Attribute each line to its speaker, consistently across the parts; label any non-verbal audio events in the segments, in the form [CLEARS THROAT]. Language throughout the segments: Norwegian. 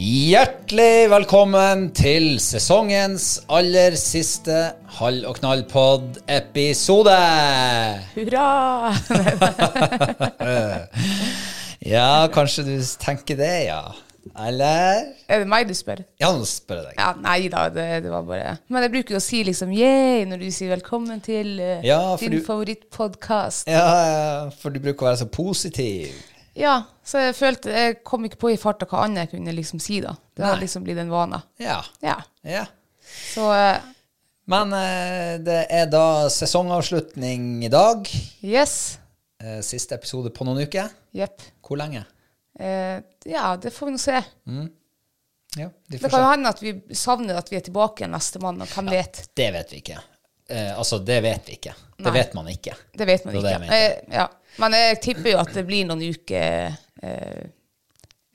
Speaker 1: Hjertelig velkommen til sesongens aller siste Hall og knall-pod-episode!
Speaker 2: Hurra!
Speaker 1: [LAUGHS] Ja, kanskje du tenker det, ja. Eller?
Speaker 2: Er det meg du spør?
Speaker 1: Ja, nå spør jeg deg.
Speaker 2: Ja, nei da, det, det var bare Men jeg bruker jo å si liksom yay når du sier velkommen til eh,
Speaker 1: Ja, for
Speaker 2: din
Speaker 1: du-
Speaker 2: favorittpodkast.
Speaker 1: Ja, ja, for du bruker å være så positiv.
Speaker 2: Ja, så jeg følte Jeg kom ikke på i farta hva annet jeg kunne liksom si, da. Det har
Speaker 1: Nei.
Speaker 2: liksom blitt en vane.
Speaker 1: Ja.
Speaker 2: Ja.
Speaker 1: ja.
Speaker 2: Så eh,
Speaker 1: Men eh, det er da sesongavslutning i dag.
Speaker 2: yes.
Speaker 1: Eh, Siste episode på noen uker.
Speaker 2: Jepp.
Speaker 1: Hvor lenge?
Speaker 2: Eh, ja, det får vi nå se.
Speaker 1: Ja, vi
Speaker 2: Det
Speaker 1: får
Speaker 2: kan
Speaker 1: se.
Speaker 2: jo hende at vi savner at vi er tilbake igjen neste mandag. Hvem vet?
Speaker 1: Det vet vi ikke. Eh, altså, det vet vi ikke. Det
Speaker 2: Nei.
Speaker 1: vet man ikke.
Speaker 2: Det vet man
Speaker 1: Det var
Speaker 2: ikke.
Speaker 1: det jeg
Speaker 2: Eh, ja. Men jeg tipper jo at det blir noen uker eh,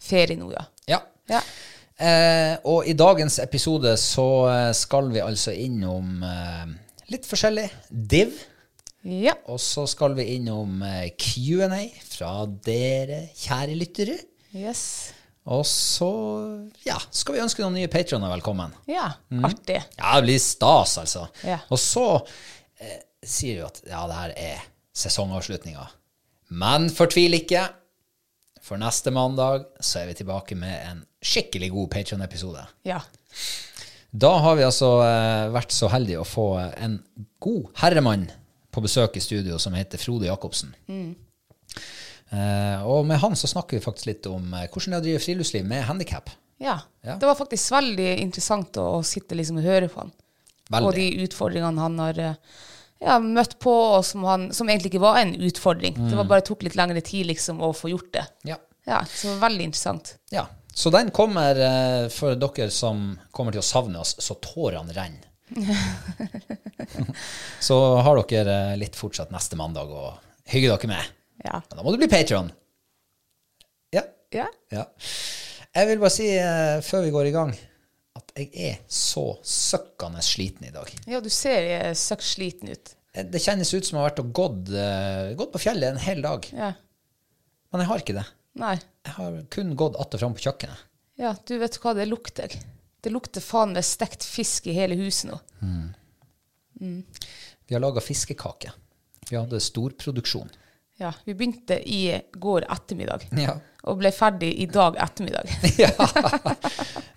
Speaker 2: ferie nå, ja.
Speaker 1: Ja.
Speaker 2: ja.
Speaker 1: Eh, og i dagens episode så eh, skal vi altså innom eh, litt forskjellig. Div.
Speaker 2: Ja.
Speaker 1: Og så skal vi innom eh, Q&A fra dere kjære lyttere.
Speaker 2: Yes.
Speaker 1: Og så ja, skal vi ønske noen nye patroner velkommen.
Speaker 2: Ja,
Speaker 1: Mm.
Speaker 2: artig.
Speaker 1: Ja, det blir stas, altså.
Speaker 2: Ja.
Speaker 1: Og så eh, sier vi at ja, det her er sesongavslutninga. Men fortvil ikke. For neste mandag så er vi tilbake med en skikkelig god Patron-episode.
Speaker 2: Ja.
Speaker 1: Da har vi altså eh, vært så heldige å få eh, en god herremann på besøk i studio som heter Frode Jacobsen.
Speaker 2: Mm.
Speaker 1: Eh, og med han så snakker vi faktisk litt om eh, hvordan det er å drive friluftsliv med handikap.
Speaker 2: ja.
Speaker 1: Ja.
Speaker 2: Det var faktisk veldig interessant å, å sitte liksom og høre på han.
Speaker 1: Veldig.
Speaker 2: Og de utfordringene han har eh, ja, møtt på, og som, han, som egentlig ikke var en utfordring. Det
Speaker 1: Mm.
Speaker 2: var bare tok litt lengre tid liksom å få gjort det.
Speaker 1: Ja.
Speaker 2: Ja, så veldig interessant.
Speaker 1: ja. Så den kommer eh, for dere som kommer til å savne oss så tårene renner. så har dere eh, litt fortsatt neste mandag å hygge dere med.
Speaker 2: Ja.
Speaker 1: Men Da må du bli patron. Ja.
Speaker 2: Ja.
Speaker 1: Ja. Jeg vil bare si eh, før vi går i gang, at jeg er så søkkende sliten i dag.
Speaker 2: ja, du ser eh, søkk sliten ut.
Speaker 1: Eh, Det kjennes ut som jeg har vært og gått, eh, gått på fjellet en hel dag.
Speaker 2: Ja.
Speaker 1: Men jeg har ikke det.
Speaker 2: Nei.
Speaker 1: Jeg har kun gått att og fram på kjøkkenet.
Speaker 2: Ja, du vet hva det lukter. Det lukter faen meg stekt fisk i hele huset nå.
Speaker 1: Vi har laga fiskekake. Vi hadde storproduksjon.
Speaker 2: Ja, vi begynte i går ettermiddag.
Speaker 1: Ja.
Speaker 2: og ble ferdig i dag ettermiddag.
Speaker 1: [LAUGHS] ja.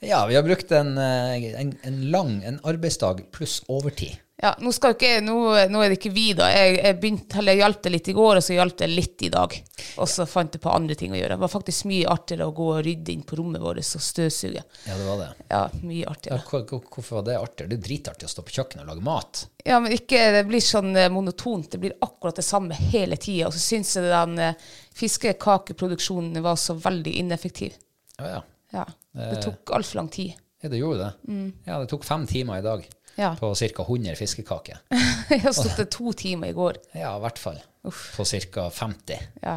Speaker 1: ja, vi har brukt en, eh, en, en lang en arbeidsdag pluss overtid.
Speaker 2: Ja, nå, skal jo ikke, nå, nå er det ikke vi, da. Jeg, jeg, begynte, eller jeg hjalp det litt i går, og så hjalp det litt i dag. Og så fant jeg på andre ting å gjøre. Det var faktisk mye artigere å gå og rydde inn på rommet vårt og støvsuge.
Speaker 1: Ja, det var det.
Speaker 2: Ja, mye
Speaker 1: Ja,
Speaker 2: artigere.
Speaker 1: hvor- hvor- hvorfor var det artig? Det er dritartig å stå på kjøkkenet og lage mat.
Speaker 2: Ja, men ikke, det blir sånn eh, monotont. Det blir akkurat det samme hele tida. Og så syns jeg den eh, fiskekakeproduksjonen var så veldig ineffektiv.
Speaker 1: Ja, ja.
Speaker 2: Ja.
Speaker 1: Eh.
Speaker 2: Det tok altfor lang tid. [LAUGHS]
Speaker 1: ja det gjorde det. Ja, det tok fem timer i dag
Speaker 2: Ja.
Speaker 1: på ca. 100 fiskekaker.
Speaker 2: Jeg har stått det to timer i går.
Speaker 1: Ja, i hvert fall. På ca. 50.
Speaker 2: Ja.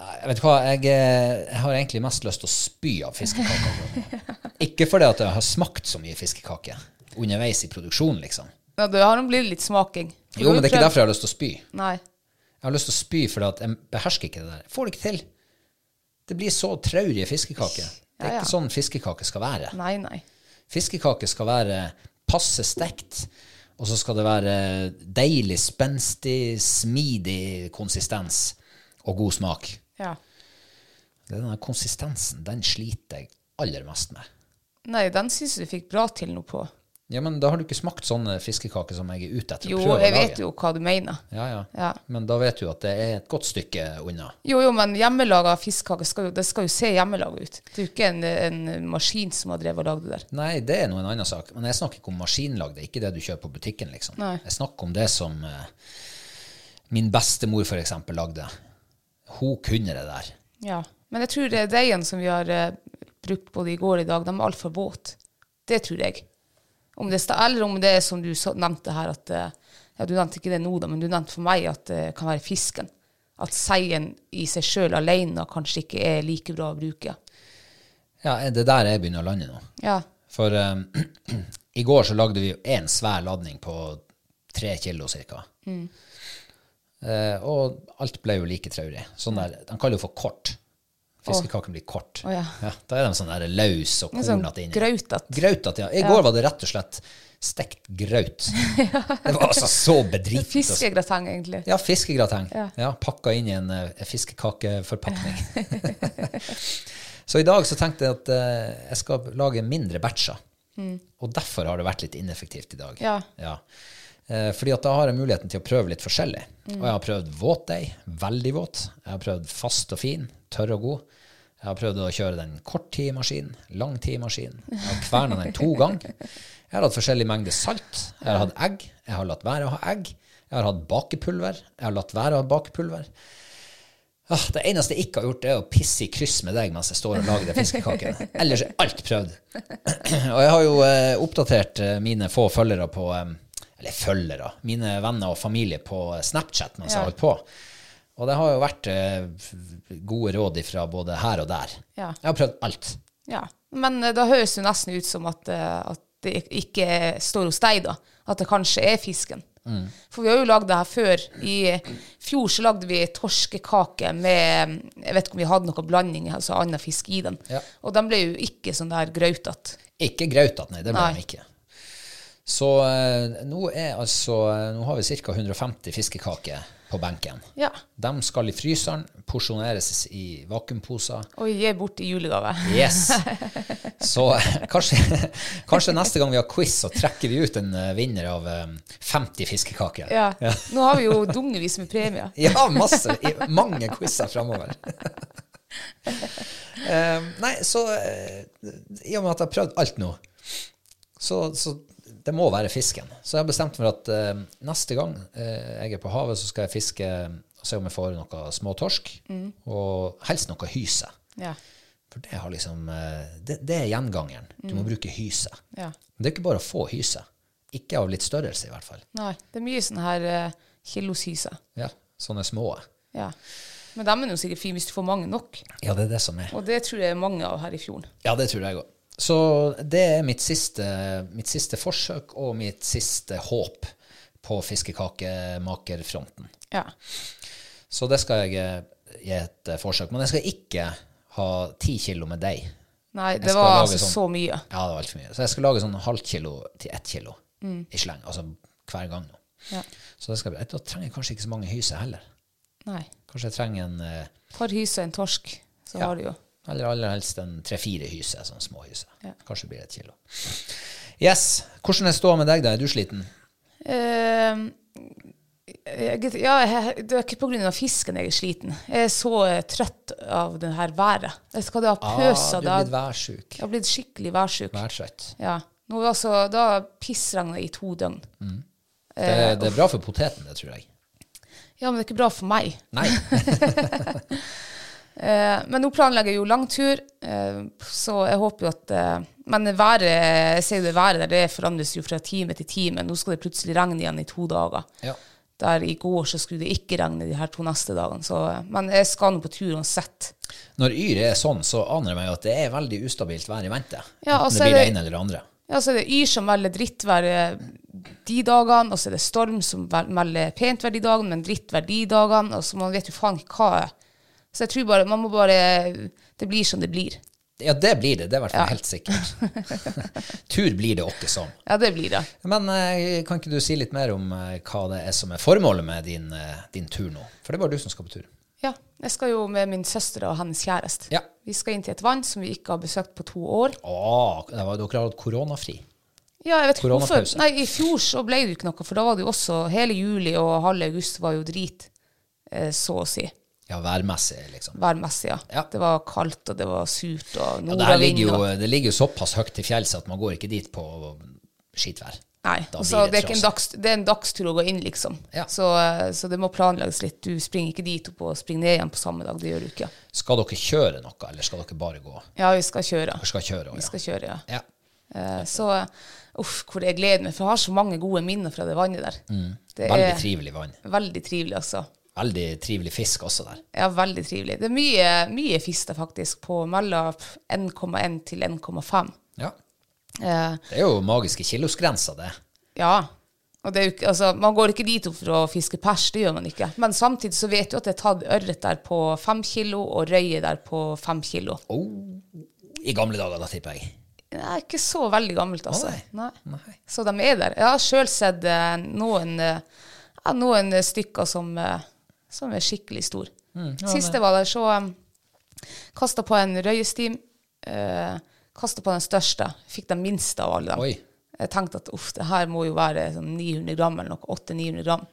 Speaker 1: Jeg vet du hva, jeg, eh, jeg har egentlig mest lyst til å spy av fiskekaker. Ikke fordi at jeg har smakt så mye fiskekaker underveis i produksjonen, liksom.
Speaker 2: Ja, det har blitt litt smaking. For
Speaker 1: Jo, men det er ikke
Speaker 2: prøvd-
Speaker 1: derfor jeg har lyst til å spy.
Speaker 2: Nei.
Speaker 1: Jeg har lyst til å spy fordi at jeg behersker ikke det der. Jeg får det ikke til. Det blir så traurige fiskekaker. Det er
Speaker 2: Ja, ja.
Speaker 1: ikke sånn fiskekake skal være.
Speaker 2: Nei, nei.
Speaker 1: Fiskekake skal være passe stekt, og så skal det være deilig, spenstig, smidig konsistens og god smak.
Speaker 2: Ja.
Speaker 1: Det er Den der konsistensen, den sliter jeg aller mest med.
Speaker 2: Nei, den syns jeg du fikk bra til nå på.
Speaker 1: Ja, men da har du ikke smakt sånne fiskekaker som jeg er ute etter
Speaker 2: Jo,
Speaker 1: å prøve
Speaker 2: jeg
Speaker 1: å lage.
Speaker 2: vet jo hva du mener.
Speaker 1: Ja, ja.
Speaker 2: Ja.
Speaker 1: Men da vet du at det er et godt stykke unna.
Speaker 2: Jo, jo, men hjemmelaga fiskekake skal jo, det skal jo se hjemmelaga ut. Det er jo ikke en, en maskin som har drevet og lagd det der.
Speaker 1: Nei, det er noe en annen sak. Men jeg snakker ikke om maskinlagde, ikke det du kjøper på butikken, liksom.
Speaker 2: Nei.
Speaker 1: Jeg snakker om det som eh, min bestemor, for eksempel, lagde. Hun kunne det der.
Speaker 2: Ja. Men jeg tror det er deigen som vi har eh, brukt både i går og i dag, de er altfor våte. Det tror jeg. Om det sta, eller om det er som du så, nevnte her, at eh, ja, Du nevnte ikke det nå, da, men du nevnte for meg at det kan være fisken. At seien i seg sjøl alene kanskje ikke er like bra å bruke.
Speaker 1: Ja, det er der jeg begynner å lande nå.
Speaker 2: Ja.
Speaker 1: For eh, [CLEARS THROAT] i går så lagde vi jo en svær ladning på tre kilo cirka.
Speaker 2: Mm.
Speaker 1: Eh, og alt ble jo like traurig. Sånn der, de kaller det for kort. Fiskekaken blir kort.
Speaker 2: Å, ja.
Speaker 1: da er de sånn der løs og
Speaker 2: En sånn
Speaker 1: kornete inni.
Speaker 2: grautete.
Speaker 1: Grautete, ja. I går var det rett og slett stekt
Speaker 2: [LAUGHS]
Speaker 1: graut. Det var altså så bedritent. og-
Speaker 2: Fiskegrateng, egentlig.
Speaker 1: altså. ja, fiskegrateng. Ja.
Speaker 2: Ja.
Speaker 1: pakka inn i en eh, fiskekakeforpakning. så i dag så tenkte jeg at eh, jeg skal lage mindre batcher. Og derfor har det vært litt ineffektivt i dag.
Speaker 2: Ja.
Speaker 1: Eh, fordi at da har jeg muligheten til å prøve litt forskjellig. Og jeg har prøvd våtdeig, veldig våt. Jeg har prøvd fast og fin, tørr og god. Jeg har prøvd å kjøre den korttidmaskinen, langtidmaskinen. Jeg har kverna den to ganger. Jeg har hatt forskjellig mengde salt. Jeg har hatt egg. Jeg har latt være å ha egg. Jeg har hatt bakepulver. Jeg har latt være å ha bakepulver. Ah, det eneste jeg ikke har gjort, er å pisse i kryss med deg mens jeg står og lager de fiskekakene. Ellers er alt prøvd. [CLEARS THROAT] og jeg har jo eh, oppdatert eh, mine få følgere på eh, Eller følgere. Mine venner og familie på eh, Snapchat mens jeg
Speaker 2: Ja.
Speaker 1: har holdt på. Og det har jo vært eh, gode råd ifra både her og der.
Speaker 2: Ja.
Speaker 1: Jeg har prøvd alt.
Speaker 2: Ja. Men eh, da høres det jo nesten ut som at, eh, at det ik- ikke er- står hos deg, da. At det kanskje er fisken.
Speaker 1: Mm.
Speaker 2: For vi har jo lagd det her før. I fjor så lagde vi torskekake med Jeg vet ikke om vi hadde noe blanding, altså annen fisk i den.
Speaker 1: Ja.
Speaker 2: Og den ble jo ikke sånn der grautete.
Speaker 1: Ikke grautete, nei. Det ble
Speaker 2: Nei.
Speaker 1: de ikke. Så eh, nå er altså Nå har vi ca. 150 fiskekaker på benken.
Speaker 2: Ja.
Speaker 1: De skal i fryseren, porsjoneres i vakuumposer.
Speaker 2: Og gi bort i
Speaker 1: [LAUGHS]
Speaker 2: julegave.
Speaker 1: Yes. Så eh, kanskje, kanskje neste gang vi har quiz, så trekker vi ut en eh, vinner av eh, 50 fiskekaker.
Speaker 2: Ja. Nå har vi jo dungevis med
Speaker 1: [LAUGHS]
Speaker 2: premier.
Speaker 1: Ja, masse. i- Mange quizer [LAUGHS] framover. Eh, nei, så eh, I og med at jeg har prøvd alt nå, så, så det må være fisken. Så jeg har bestemt meg for at eh, neste gang eh, jeg er på havet, så skal jeg fiske og se om jeg får noe småtorsk, og helst noe hyse.
Speaker 2: Ja.
Speaker 1: For det, har liksom, eh, det, det er gjengangeren. Du må bruke hyse.
Speaker 2: Ja.
Speaker 1: Det er ikke bare å få hyse. Ikke av litt størrelse, i hvert fall.
Speaker 2: Nei. Det er mye sånn her eh, kiloshyser.
Speaker 1: Ja, Sånne små.
Speaker 2: Ja. Men de er jo sikkert fine hvis du får mange nok.
Speaker 1: Ja, det er det som er.
Speaker 2: Og det tror jeg er mange av her i fjorden.
Speaker 1: Ja, det tror jeg òg. Så det er mitt siste, mitt siste forsøk og mitt siste håp på fiskekakemakerfronten.
Speaker 2: Ja.
Speaker 1: Så det skal jeg eh, gi et eh, forsøk. Men jeg skal ikke ha ti kilo med deig.
Speaker 2: Nei,
Speaker 1: Jeg
Speaker 2: det
Speaker 1: skal
Speaker 2: var
Speaker 1: lage
Speaker 2: altså
Speaker 1: sånn.
Speaker 2: så mye.
Speaker 1: Ja, det var altfor mye. Så jeg skal lage sånn halvt kilo til ett kilo i sleng. Altså hver gang nå.
Speaker 2: Mm. Ja.
Speaker 1: Så det skal, jeg- da trenger jeg kanskje ikke så mange hyser heller.
Speaker 2: Nei.
Speaker 1: Kanskje jeg trenger en eh,
Speaker 2: Par hyse og en torsk, så
Speaker 1: Ja.
Speaker 2: har du jo.
Speaker 1: Eller aller helst en tre-fire hyse, sånn små hyse.
Speaker 2: Ja.
Speaker 1: Kanskje blir det et kilo. Yes. Hvordan er ståa med deg, da? Er du sliten?
Speaker 2: Ehm, jeg, ja, jeg, det er ikke pga. fisken jeg er sliten. Jeg er så eh, trøtt av det her været. Jeg skal ha
Speaker 1: Ah,
Speaker 2: pøsa
Speaker 1: du
Speaker 2: da.
Speaker 1: er blitt værsjuk.
Speaker 2: Jeg har blitt skikkelig værsjuk.
Speaker 1: Værtrøtt.
Speaker 2: Ja. Nå var altså, da pissregna i to døgn.
Speaker 1: Det,
Speaker 2: Eh,
Speaker 1: det er bra for poteten, det tror jeg.
Speaker 2: Ja, men det er ikke bra for meg. [LAUGHS]
Speaker 1: Nei.
Speaker 2: Eh, men nå planlegger jeg jo langtur, eh, så jeg håper jo at eh, Men været, jeg ser jo det været der, det forandres jo fra time til time. Nå skal det plutselig regne igjen i to dager.
Speaker 1: Ja.
Speaker 2: Der i går så skulle det ikke regne de her to neste dagene. Så, eh, men jeg skal nå på tur uansett.
Speaker 1: Når Yr er sånn, så aner jeg meg jo at det er veldig ustabilt vær i vente.
Speaker 2: Ja, og
Speaker 1: Enten
Speaker 2: så
Speaker 1: det
Speaker 2: er
Speaker 1: blir det
Speaker 2: det-
Speaker 1: ene eller det andre.
Speaker 2: Ja, så er det Yr som velger drittvær eh, de dagene, og så er det Storm som vel- melder pent vær de dagene, men drittvær de dagene. Og så man vet jo faen ikke hva Så jeg tror bare man må bare Det blir som det blir.
Speaker 1: Ja, det blir det. Det er i hvert fall helt sikkert.
Speaker 2: [LAUGHS]
Speaker 1: Tur blir det åkke som.
Speaker 2: Ja, det blir det.
Speaker 1: Men eh, kan ikke du si litt mer om eh, hva det er som er formålet med din, eh, din tur nå? For det er bare du som skal på tur.
Speaker 2: Ja. Jeg skal jo med min søster og hennes kjæreste.
Speaker 1: Ja.
Speaker 2: Vi skal inn til et vann som vi ikke har besøkt på to år.
Speaker 1: Å, Ah, det var, dere har hatt koronafri.
Speaker 2: Ja, jeg vet ikke hvorfor.
Speaker 1: Koronapause.
Speaker 2: Nei, I fjor så ble det jo ikke noe, for da var det jo også hele juli og halve august var jo drit, eh, så å si.
Speaker 1: Ja, værmessig, liksom.
Speaker 2: Værmessig, ja.
Speaker 1: Ja.
Speaker 2: Det var kaldt, og det var surt, og
Speaker 1: Ja, det, her
Speaker 2: nordavind.
Speaker 1: ligger
Speaker 2: og-
Speaker 1: jo, eh, det ligger jo såpass høyt til fjells at man går ikke dit på skitvær.
Speaker 2: Nei,
Speaker 1: Da
Speaker 2: altså,
Speaker 1: blir
Speaker 2: det,
Speaker 1: det
Speaker 2: er ikke en dags, det er en dagstur å gå inn, liksom.
Speaker 1: Ja.
Speaker 2: Så, eh, så det må planlegges litt. Du springer ikke dit opp og springer ned igjen på samme dag. Det gjør du ikke.
Speaker 1: Skal dere kjøre noe, eller skal dere bare gå?
Speaker 2: Ja, vi skal kjøre.
Speaker 1: Dere skal kjøre,
Speaker 2: Vi
Speaker 1: også,
Speaker 2: skal kjøre, ja.
Speaker 1: ja. ja.
Speaker 2: Eh, Så eh, uff, hvor jeg gleder meg. For jeg har så mange gode minner fra det vannet der. Det
Speaker 1: Mm. Veldig
Speaker 2: er
Speaker 1: trivelig vann.
Speaker 2: veldig trivelig, altså.
Speaker 1: Veldig trivelig fisk også der.
Speaker 2: Ja, veldig trivelig. Det er mye, mye fister faktisk på mellom 1,1 til 1,5.
Speaker 1: Ja.
Speaker 2: Eh,
Speaker 1: Det er jo magiske kilosgrenser, det.
Speaker 2: ja. Og det er jo ikke, altså, man går ikke dit opp for å fiske pers, det gjør man ikke. Men samtidig så vet du at det er tatt ørret der på fem kilo, og røye der på fem kilo.
Speaker 1: I gamle dager, da, tipper jeg.
Speaker 2: Det er ikke så veldig gammelt, altså.
Speaker 1: Å,
Speaker 2: Nei.
Speaker 1: Nei.
Speaker 2: Så de er der. Jeg har sjøl sett eh, noen, eh, ja, noen eh, stykker som, eh, som er skikkelig store.
Speaker 1: Mm,
Speaker 2: Sist jeg var der, så um, kasta på en røyestim. Uh, kasta på den største. Fikk den minste av alle dem.
Speaker 1: Oi.
Speaker 2: Jeg tenkte at uff, det her må jo være sånn 900 gram eller noe. 800-900 gram.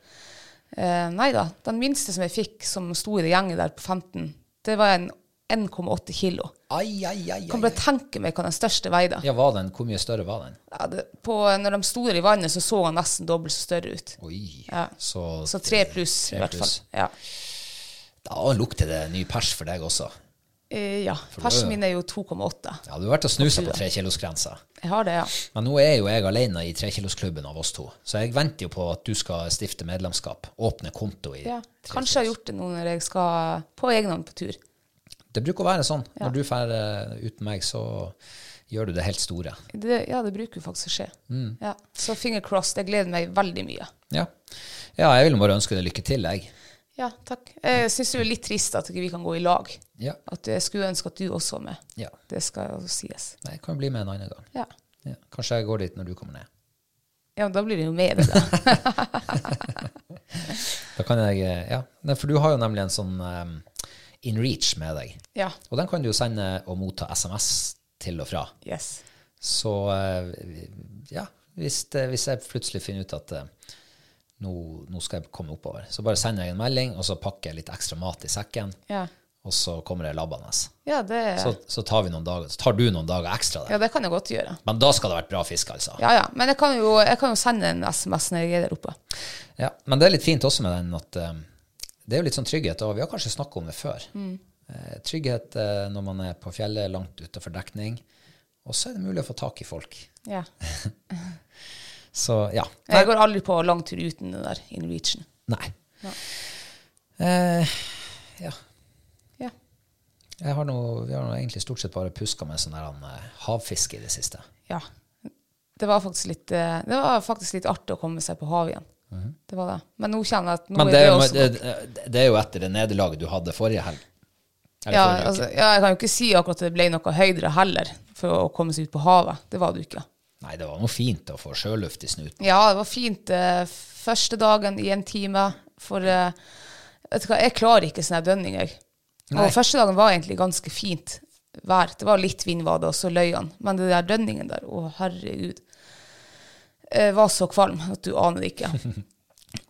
Speaker 2: Eh, nei da. Den minste som jeg fikk, som sto i det gjengen der på 15, det var en 1,8 kilo.
Speaker 1: Ai, ai, ai,
Speaker 2: Kan
Speaker 1: ai.
Speaker 2: bare tenke meg hva den største veide.
Speaker 1: Ja, var den, hvor mye større var den?
Speaker 2: Ja, det, på, når de sto der i vannet, så så han nesten dobbelt så større ut.
Speaker 1: Oi.
Speaker 2: Ja.
Speaker 1: Så,
Speaker 2: Så tre pluss,
Speaker 1: Tre
Speaker 2: i hvert fall.
Speaker 1: pluss.
Speaker 2: Ja.
Speaker 1: Da lukter det ny pers for deg også.
Speaker 2: Eh, ja.
Speaker 1: du er-
Speaker 2: Persen min er jo 2,8.
Speaker 1: Ja, du har vært og snusa på trekilosgrensa.
Speaker 2: Jeg har det, ja.
Speaker 1: Men nå er jo jeg alene i trekilosklubben av oss to, så jeg venter jo på at du skal stifte medlemskap. Åpne konto i
Speaker 2: ja. Kanskje jeg har gjort det nå når jeg skal på egen hånd på tur.
Speaker 1: Det bruker å være sånn. Når du drar eh, uten meg, så gjør du det helt store.
Speaker 2: Det, ja, det bruker jo faktisk å skje.
Speaker 1: Mm.
Speaker 2: Ja. Så finger crossed. Jeg gleder meg veldig mye.
Speaker 1: Ja. ja, jeg vil bare ønske deg lykke til, jeg.
Speaker 2: Ja, takk. Jeg syns det er litt trist at ikke vi kan gå i lag.
Speaker 1: Ja.
Speaker 2: At jeg skulle ønske at du også var med.
Speaker 1: ja.
Speaker 2: Det skal jo sies.
Speaker 1: Nei, Jeg kan bli med en annen gang.
Speaker 2: Ja.
Speaker 1: Ja. Kanskje jeg går dit når du kommer ned.
Speaker 2: ja, men da blir det jo med det, da.
Speaker 1: Da kan jeg, eh, ja. Nei, For du har jo nemlig en sånn um, InReach med deg.
Speaker 2: [LAUGHS] Ja.
Speaker 1: Og den kan du jo sende og motta SMS til og fra.
Speaker 2: Yes.
Speaker 1: Så eh, vi- ja, hvis, det, hvis jeg plutselig finner ut at eh, nå, nå skal jeg komme oppover, så bare sender jeg en melding, og så pakker jeg litt ekstra mat i sekken,
Speaker 2: Ja,
Speaker 1: og så kommer det labbende.
Speaker 2: ja det
Speaker 1: Så, så tar, vi noen dager, så tar du noen dager ekstra der.
Speaker 2: Ja, det kan jeg godt gjøre.
Speaker 1: Men da skal det ha vært bra fisk, altså.
Speaker 2: Ja, ja. Men jeg kan jo, jeg kan jo sende en SMS når jeg er der oppe.
Speaker 1: Ja, men det er litt fint også med den at eh, det er jo litt sånn trygghet, og vi har kanskje snakket om det før.
Speaker 2: Mm.
Speaker 1: Eh, trygghet eh, når man er på fjellet, langt utenfor dekning, og så er det mulig å få tak i folk.
Speaker 2: Ja.
Speaker 1: Så ja.
Speaker 2: Jeg går aldri på langtur uten den der in reachen.
Speaker 1: Nei. Eh, ja.
Speaker 2: Ja.
Speaker 1: Jeg har noe, vi har nå egentlig stort sett bare puska med sånn der, eh, havfiske i det siste.
Speaker 2: ja. Det var faktisk litt eh, Det var faktisk litt artig å komme seg på havet igjen. Det var det. Men nå kjenner jeg at nå
Speaker 1: Mhm. Men
Speaker 2: er
Speaker 1: det
Speaker 2: det
Speaker 1: er, jo,
Speaker 2: også
Speaker 1: det, det- det er jo etter det nederlaget du hadde forrige helg. Eller
Speaker 2: ja,
Speaker 1: forrige uke.
Speaker 2: altså, ja, jeg kan jo ikke si akkurat at det ble noe høydere heller for å komme seg ut på havet. Det var det jo ikke.
Speaker 1: Nei, det var noe fint å få sjøluft i snuten.
Speaker 2: Ja, det var fint eh, første dagen i en time, for eh, vet du hva, jeg klarer ikke sånne her dønning, jeg.
Speaker 1: Nei.
Speaker 2: Og første dagen var egentlig ganske fint vær. Det var litt vind var det, og så løy han. Men det der dønningen der, å herregud. eh, var så kvalm at du aner det
Speaker 1: [LAUGHS]
Speaker 2: ikke.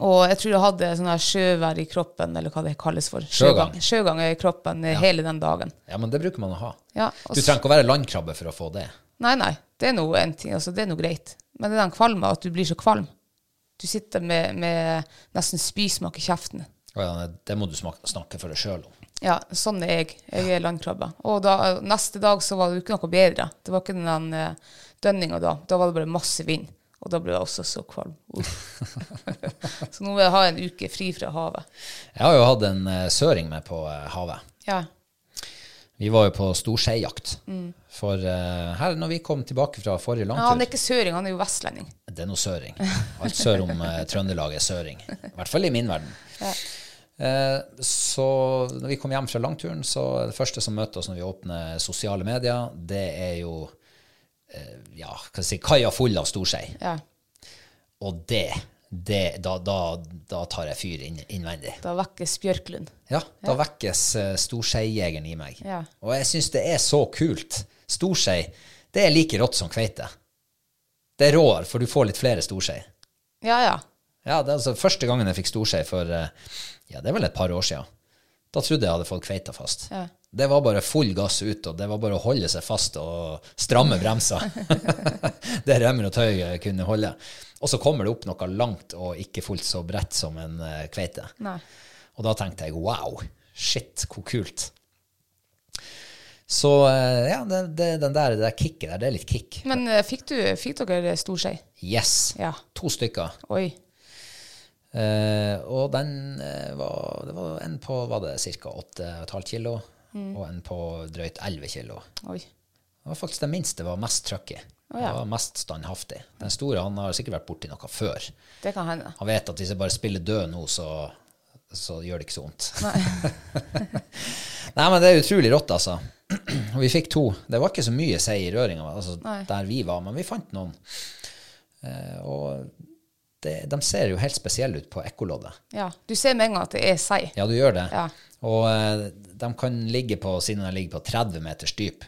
Speaker 2: Og jeg tror jeg hadde sånn her sjøvær i kroppen, eller hva det kalles for.
Speaker 1: Sjøgang.
Speaker 2: Sjøgang i kroppen eh, hele den dagen.
Speaker 1: Ja, men det bruker man å ha.
Speaker 2: Ja, og
Speaker 1: Du
Speaker 2: s-
Speaker 1: trenger ikke å være landkrabbe for å få det.
Speaker 2: Nei, nei. Det er nå en ting, altså det er noe greit. Men det er den kvalmen, at du blir så kvalm. Du sitter med, med nesten spysmak i kjeften.
Speaker 1: Og ja, Det må du smak- snakke for deg sjøl om.
Speaker 2: Ja, sånn er jeg. Jeg er landkrabbe. Og da, neste dag så var det jo ikke noe bedre. Det var ikke den uh, dønninga da. Da var det bare masse vind. Og da ble jeg også så kvalm. Uff. [LAUGHS] så nå vil jeg ha en uke fri fra havet.
Speaker 1: Jeg har jo hatt en eh, søring med på eh, havet.
Speaker 2: Ja.
Speaker 1: Vi var jo på storseijakt. For eh, her, når vi kom tilbake fra forrige
Speaker 2: Mm. Ja, han
Speaker 1: langtur
Speaker 2: er ikke søring, han er jo vestlending.
Speaker 1: Det er noe søring. Alt sør om eh, Trøndelag er søring. I hvert fall i min verden. Eh, så når vi kom hjem fra langturen, så det første som møter oss når vi åpner sosiale medier, det er jo eh, ja, hva skal jeg si, kaia full av storsei.
Speaker 2: Ja,
Speaker 1: Og det, det da, da, da tar jeg fyr inn, innvendig.
Speaker 2: Da vekkes Bjørklund.
Speaker 1: Ja, da vekkes uh, storseijegeren i meg.
Speaker 2: Ja.
Speaker 1: Og jeg syns det er så kult. Storsei, det er like rått som kveite. Det er råere, for du får litt flere storsei.
Speaker 2: Ja, ja.
Speaker 1: Ja, det er altså Første gangen jeg fikk storsei for eh, ja, det er vel et par år siden, da trodde jeg jeg hadde fått kveita fast.
Speaker 2: Ja.
Speaker 1: Det var bare full gass ut, og det var bare å holde seg fast og stramme
Speaker 2: [LAUGHS]
Speaker 1: bremser. det remmer og tøy eh, kunne holde. Og så kommer det opp noe langt og ikke fullt så bredt som en eh, kveite.
Speaker 2: Nei.
Speaker 1: Og da tenkte jeg wow, shit, hvor kult. Så eh, ja, det, det, den der, det der kicket der, det er litt kick.
Speaker 2: Men eh, fikk, du, fikk dere storskei?
Speaker 1: Yes.
Speaker 2: Ja.
Speaker 1: To stykker.
Speaker 2: Oi.
Speaker 1: Eh, og den eh, var, det var en på var det ca. 8,5 kilo, og en på drøyt 11 kilo.
Speaker 2: Oi.
Speaker 1: Det var faktisk den minste var mest trøkk i.
Speaker 2: ja.
Speaker 1: Det var mest standhaftig. Den store han har sikkert vært borti noe før.
Speaker 2: Det kan hende.
Speaker 1: Han vet at hvis jeg bare spiller død nå, så, så gjør det ikke så vondt. Nei. [LAUGHS] men det er utrolig rått, altså. Og vi fikk to. Det var ikke så mye sei i røringa altså, der vi var, men vi fant noen. Eh, og det, de ser jo helt spesielle ut på ekkoloddet.
Speaker 2: Ja. Du ser med en gang at det er sei.
Speaker 1: Ja, du gjør det.
Speaker 2: Ja.
Speaker 1: Og eh, de kan ligge på, siden de ligger på 30 meters dyp,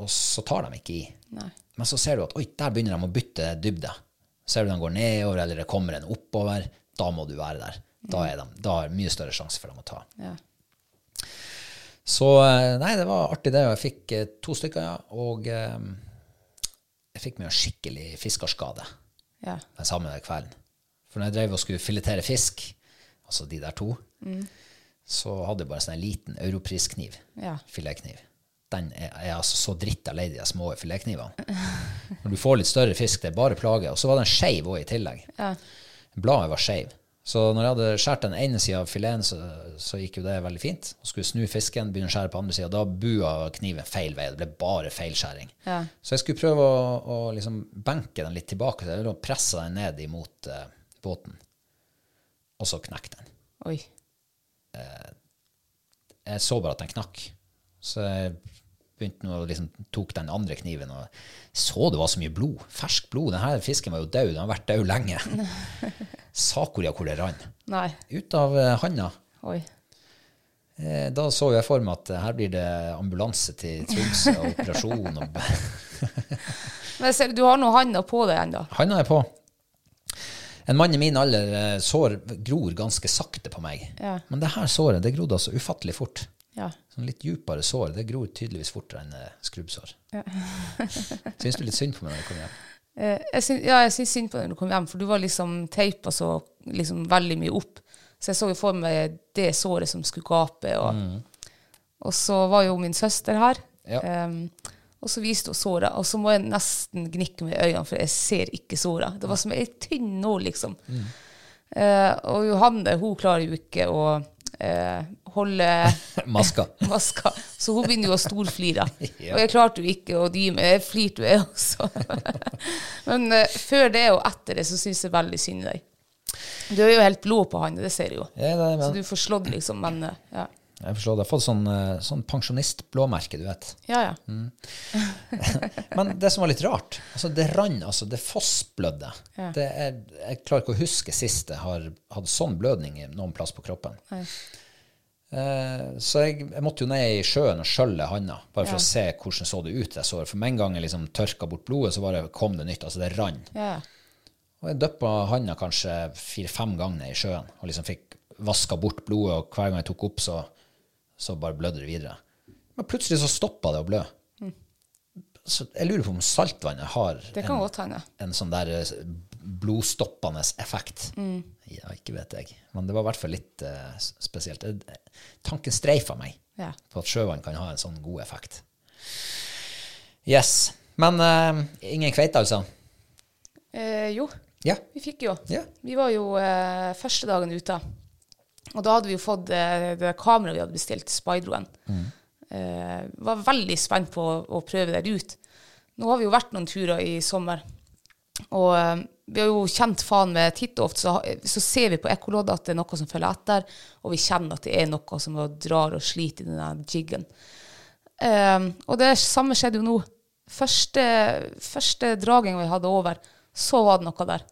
Speaker 1: og så tar de ikke i.
Speaker 2: Nei.
Speaker 1: Men så ser du at oi, der begynner de å bytte dybde. Ser du de går nedover, eller det kommer en oppover, da må du være der. Da er, de, da er det mye større sjanse for dem å ta.
Speaker 2: Ja.
Speaker 1: Så eh, nei, det var artig det. og Jeg fikk eh, to stykker, ja, og eh, jeg fikk meg en skikkelig fiskerskade
Speaker 2: Ja.
Speaker 1: den samme kvelden. For når jeg drev og skulle filetere fisk, altså de der to, så hadde jeg bare sånn en liten europriskniv,
Speaker 2: Ja.
Speaker 1: filetkniv. Den er, er altså så dritt lei de der små filetknivene. Når du får litt større fisk, det er bare plage. Og så var den skeiv òg i tillegg. Bladet var skeiv. Så når jeg hadde skåret den ene sida av fileten, så, så gikk jo det veldig fint. Og skulle snu fisken, begynne å skjære på andre sida. Da bua kniven feil vei. Det ble bare feilskjæring.
Speaker 2: Ja.
Speaker 1: Så jeg skulle prøve å, å liksom benke den litt tilbake, så jeg ville presse den ned imot eh, båten. Og så knekk den.
Speaker 2: Oi.
Speaker 1: Jeg så bare at den knakk. Så jeg begynte nå å liksom tok den andre kniven og så det var så mye blod. Ferskt blod. Denne fisken var jo død. Den har vært død lenge. Sakoria hvor det rann.
Speaker 2: Nei.
Speaker 1: Ut av eh, handa.
Speaker 2: Oi.
Speaker 1: Eh, Da så jeg for meg at eh, her blir det ambulanse til Tromsø og operasjon. og [LAUGHS]
Speaker 2: Men jeg ser, du har nå handa på deg ennå.
Speaker 1: Handa er på. En mann i min alder, eh, sår gror ganske sakte på meg.
Speaker 2: Ja.
Speaker 1: Men det her såret det grodde altså ufattelig fort.
Speaker 2: Ja.
Speaker 1: Sånn litt djupere sår det gror tydeligvis fortere enn eh, skrubbsår. [LAUGHS] Syns du litt synd på meg når jeg kommer hjem?
Speaker 2: Eh, jeg syns ja, jeg syns synd på deg når du kom hjem, for du var liksom teipa så liksom veldig mye opp. Så jeg så jo for meg det såret som skulle gape. Og, og så var jo min søster her,
Speaker 1: Mm. Ja.
Speaker 2: em, og så viste hun såret. Og så må jeg nesten gnikke meg i øynene, for jeg ser ikke såret. Det var som ei tynn nål, liksom.
Speaker 1: Mm.
Speaker 2: Eh, og Johanne hun klarer jo ikke å eh, holde
Speaker 1: [LAUGHS] Maska.
Speaker 2: [LAUGHS] maska. Så hun begynner jo å storflire.
Speaker 1: [LAUGHS] Ja.
Speaker 2: Og jeg klarte jo ikke å dy meg. Jeg flirte jo, jeg også. [LAUGHS] Men eh, før det og etter det så syns jeg veldig synd i deg. Du er jo helt blå på hånda, det ser jeg jo.
Speaker 1: Ja, det er
Speaker 2: Så
Speaker 1: vel-
Speaker 2: du får slått, liksom. Men eh, ja.
Speaker 1: Jeg forstår, du har fått sånn, eh, sånn pensjonistblåmerke, du vet.
Speaker 2: Ja, ja.
Speaker 1: Mm. Men det som var litt rart, altså det rann, altså det fossblødde. Det er, jeg klarer ikke å huske sist jeg har hatt sånn blødning i noen plass på kroppen. Eh, så jeg, jeg måtte jo ned i sjøen og skjølle handa, bare for å se hvordan så det ut det såret. For med en gang jeg liksom tørka bort blodet, så bare kom det nytt. Altså det rann.
Speaker 2: Ja.
Speaker 1: Og jeg døppa handa kanskje fire-fem ganger ned i sjøen og liksom fikk vaska bort blodet, og hver gang jeg tok opp, så, så bare blødde det videre. Men plutselig så stoppa det å blø. Så jeg lurer på om saltvannet har
Speaker 2: Mm. Det kan godt hende.
Speaker 1: en sånn der eh, blodstoppende effekt.
Speaker 2: Mm.
Speaker 1: Ja, ikke vet jeg. Men det var i hvert fall litt eh, s- spesielt. Eh, Tanken streifa meg
Speaker 2: Ja.
Speaker 1: på at sjøvann kan ha en sånn god effekt. Yes. Men eh, ingen kveite, altså?
Speaker 2: Eh, jo,
Speaker 1: Ja.
Speaker 2: vi fikk jo.
Speaker 1: Ja.
Speaker 2: Vi var jo eh, første dagen ute. Og da hadde vi jo fått eh, det kameraet vi hadde bestilt, Spydroen. Eh, var veldig spent på å, å prøve det ut. Nå har vi jo vært noen turer i sommer. Og eh, vi har jo kjent faen med titt og ofte, så, ha- så ser vi på ekkoloddet at det er noe som følger etter, og vi kjenner at det er noe som drar og sliter i denne jiggen. Ehm, og det samme skjedde jo nå. Første, første dragen vi hadde over, så var det noe der.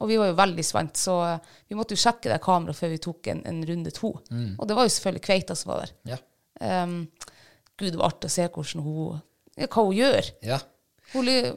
Speaker 2: Og vi var jo veldig spent, så eh, vi måtte jo sjekke det kameraet før vi tok en, en runde to. Og det var jo selvfølgelig kveita som var der.
Speaker 1: Ja.
Speaker 2: Ehm, Gud, det var artig å se hvordan hun, ja, hva hun gjør.
Speaker 1: ja.
Speaker 2: Hun, ly-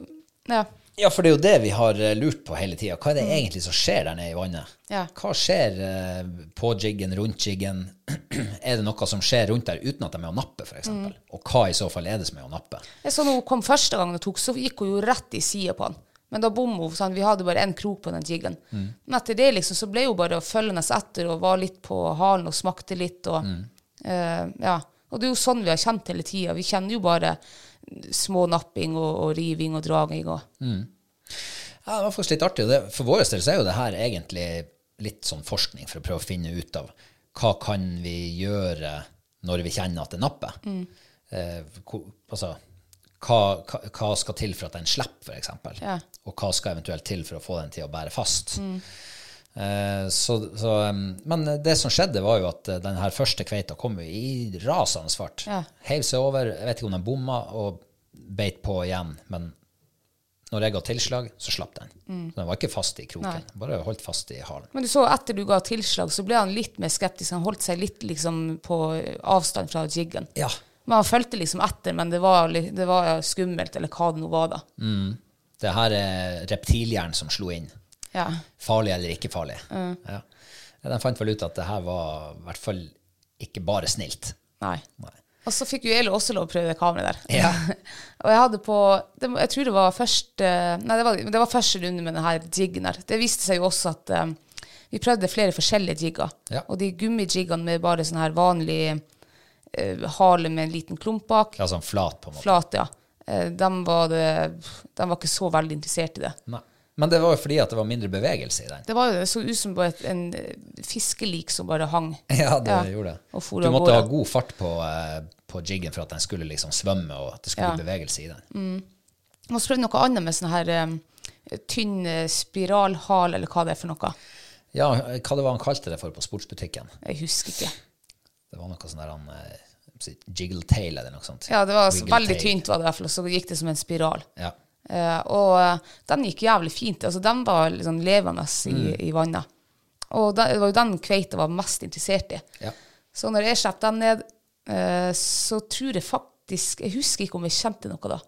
Speaker 2: ja.
Speaker 1: Ja, for det er jo det vi har eh, lurt på hele tida. Hva er det egentlig som skjer der nede i vannet?
Speaker 2: Ja.
Speaker 1: Hva skjer eh, på jiggen, rundt jiggen? [CLEARS THROAT] er det noe som skjer rundt der uten at de er å nappe, f.eks.? eksempel? Og hva i så fall er det som er å nappe?
Speaker 2: Jeg så når hun kom første gangen og tok, så gikk hun jo rett i sida på han. Men da bom hun. Sånn, vi hadde bare én krok på den jiggen. Men etter det liksom, så ble hun bare følgende etter og var litt på halen og smakte litt. Og, eh, ja. og det er jo sånn vi har kjent hele tida. Vi kjenner jo bare små napping og, og riving og draging. Og,
Speaker 1: Ja, det var faktisk litt artig. og Det, for vår del så er jo det her egentlig litt sånn forskning for å prøve å finne ut av hva kan vi gjøre når vi kjenner at det napper?
Speaker 2: Mm.
Speaker 1: Eh, hvor- altså, hva, hva, hva skal til for at den slipper, f.eks.? eksempel?
Speaker 2: Ja. Mm.
Speaker 1: Og hva skal eventuelt til for å få den til å bære fast? Eh, så, så, um, men det som skjedde, var jo at eh, den her første kveita kom jo i rasende fart.
Speaker 2: Ja.
Speaker 1: Heiv seg over, jeg vet ikke om den bomma, og beit på igjen. Men når jeg ga tilslag, så slapp den.
Speaker 2: Mm.
Speaker 1: Så den var ikke fast i kroken. Bare holdt fast i halen.
Speaker 2: Men du så etter du ga tilslag, så ble han litt mer skeptisk. Han holdt seg litt liksom, på avstand fra jiggen.
Speaker 1: Ja.
Speaker 2: Men han fulgte liksom etter, men det var, li- det var skummelt, eller hva det nå var, da.
Speaker 1: Det her er reptilhjernen som slo inn.
Speaker 2: Ja.
Speaker 1: Farlig eller ikke farlig. Ja. De fant vel ut at det her var i hvert fall ikke bare snilt.
Speaker 2: Nei.
Speaker 1: Nei.
Speaker 2: Og så fikk jo Eli også lov å prøve det kameraet der.
Speaker 1: Ja.
Speaker 2: [LAUGHS] og jeg hadde på det, må- Jeg tror det var første Nei, det var, det var første runde med denne jiggen her. Det viste seg jo også at eh, vi prøvde flere forskjellige jigger.
Speaker 1: Ja.
Speaker 2: Og de gummijiggene med bare sånn her vanlig eh, hale med en liten klump bak,
Speaker 1: Ja, sånn flat, på en måte.
Speaker 2: flat, ja, eh, dem var, det, dem var ikke så veldig interessert i det.
Speaker 1: Nei. Men det var jo fordi at det var mindre bevegelse i den. [LAUGHS]
Speaker 2: Det var jo det så ut som bare et, en eh, fiskelik som bare hang.
Speaker 1: Ja, det
Speaker 2: Ja,
Speaker 1: gjorde det.
Speaker 2: og for
Speaker 1: Du
Speaker 2: av
Speaker 1: måtte ha
Speaker 2: gårde.
Speaker 1: god fart på, eh, på jiggen for at den skulle liksom svømme, og at det skulle
Speaker 2: Ja.
Speaker 1: bli bevegelse i den.
Speaker 2: Og så prøvde jeg noe annet med sånn her eh, tynn eh, spiralhal, eller hva det er for noe.
Speaker 1: Ja, hva det var han kalte det for på sportsbutikken?
Speaker 2: Jeg husker ikke.
Speaker 1: Det var noe sånn der han eh, si, Jiggle tail eller noe sånt.
Speaker 2: Ja, det var
Speaker 1: Wiggle
Speaker 2: veldig
Speaker 1: tail.
Speaker 2: tynt, var det i hvert fall, og så gikk det som en spiral.
Speaker 1: Ja.
Speaker 2: Eh, og eh, den gikk jævlig fint. Altså, den var liksom levende i, i vannet. Og da- det var jo den kveita var mest interessert i.
Speaker 1: Ja.
Speaker 2: Så når jeg slapp den ned, eh, så tror jeg faktisk Jeg husker ikke om jeg kjente noe da.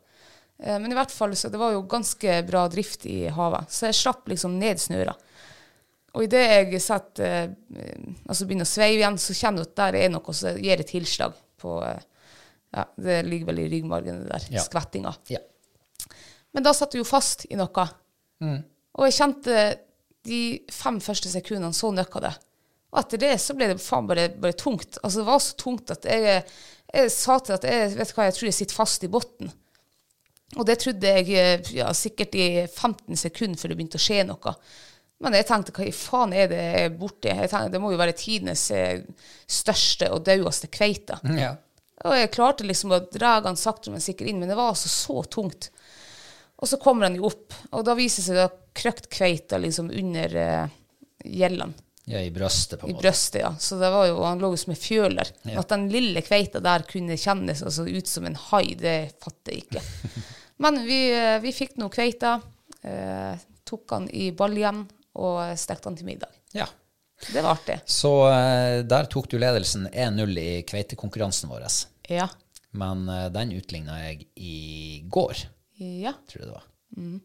Speaker 2: Eh, men i hvert fall, så det var jo ganske bra drift i havet. Så jeg slapp liksom ned snøra. Og idet jeg setter, eh, altså begynner å sveive igjen, så kjenner du at der er noe som gir et tilslag på eh, ja, Det ligger vel i ryggmargen, det der.
Speaker 1: Ja.
Speaker 2: Skvettinga.
Speaker 1: ja.
Speaker 2: Men da satt du jo fast i noe. Og jeg kjente de fem første sekundene så nøkka det. Og etter det så ble det faen bare, bare tungt. Altså det var så tungt at jeg, jeg sa til at jeg vet du hva, jeg tror jeg sitter fast i bunnen. Og det trodde jeg eh, ja, sikkert i 15 sekunder før det begynte å skje noe. Men jeg tenkte hva i faen er det jeg er borti? Jeg tenkte, det må jo være tidenes eh, største og daueste kveite.
Speaker 1: [LAUGHS] ja.
Speaker 2: Og jeg klarte liksom å dra han sakte, men sikkert inn, men det var altså så tungt. Og så kommer han jo opp, og da viser det seg at krøkt kveita liksom under eh, gjellene.
Speaker 1: Ja, i brøstet, på en
Speaker 2: I
Speaker 1: måte.
Speaker 2: brøstet, ja. Så det var jo, han lå jo som en fjøl der.
Speaker 1: Ja.
Speaker 2: At den lille kveita der kunne kjennes altså, ut som en hai, det fatter
Speaker 1: [LAUGHS]
Speaker 2: jeg ikke. Men vi, eh, vi fikk nå kveita, eh, tok han i baljen og eh, stekte han til middag.
Speaker 1: Ja.
Speaker 2: Så det var artig.
Speaker 1: Så eh, der tok du ledelsen 1-0 i kveitekonkurransen vår.
Speaker 2: Ja.
Speaker 1: Men eh, den utligna jeg i går,
Speaker 2: Ja.
Speaker 1: tror jeg det var.
Speaker 2: Mm.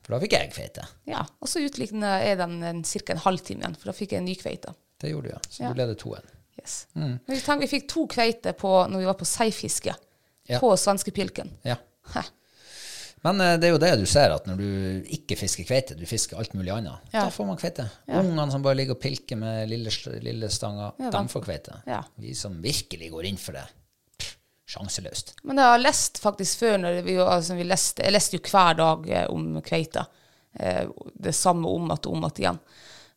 Speaker 1: For da fikk jeg kveite.
Speaker 2: ja. Og så utlikna jeg den en, ca. en halvtime igjen, for da fikk jeg en ny kveite.
Speaker 1: Det gjorde du, ja. Så
Speaker 2: Ja.
Speaker 1: du leder 2-1.
Speaker 2: Yes.
Speaker 1: Mm.
Speaker 2: Men vi, tenk, vi fikk to kveiter på, når vi var på seifiske,
Speaker 1: Ja.
Speaker 2: på svenskepilken.
Speaker 1: Ja.
Speaker 2: Hæ.
Speaker 1: Men eh, det er jo det du ser, at når du ikke fisker kveite, du fisker alt mulig annet,
Speaker 2: Ja.
Speaker 1: da får man kveite. Ungene som bare ligger og pilker med lille, sl- lille stanga, de får kveite.
Speaker 2: Ja.
Speaker 1: Vi som virkelig går inn for det, pff, sjanseløst.
Speaker 2: Men jeg har lest faktisk før når vi, jo- altså, vi leste, Jeg leste jo hver dag eh, om kveita. Eh, det samme om igjen og om igjen igjen.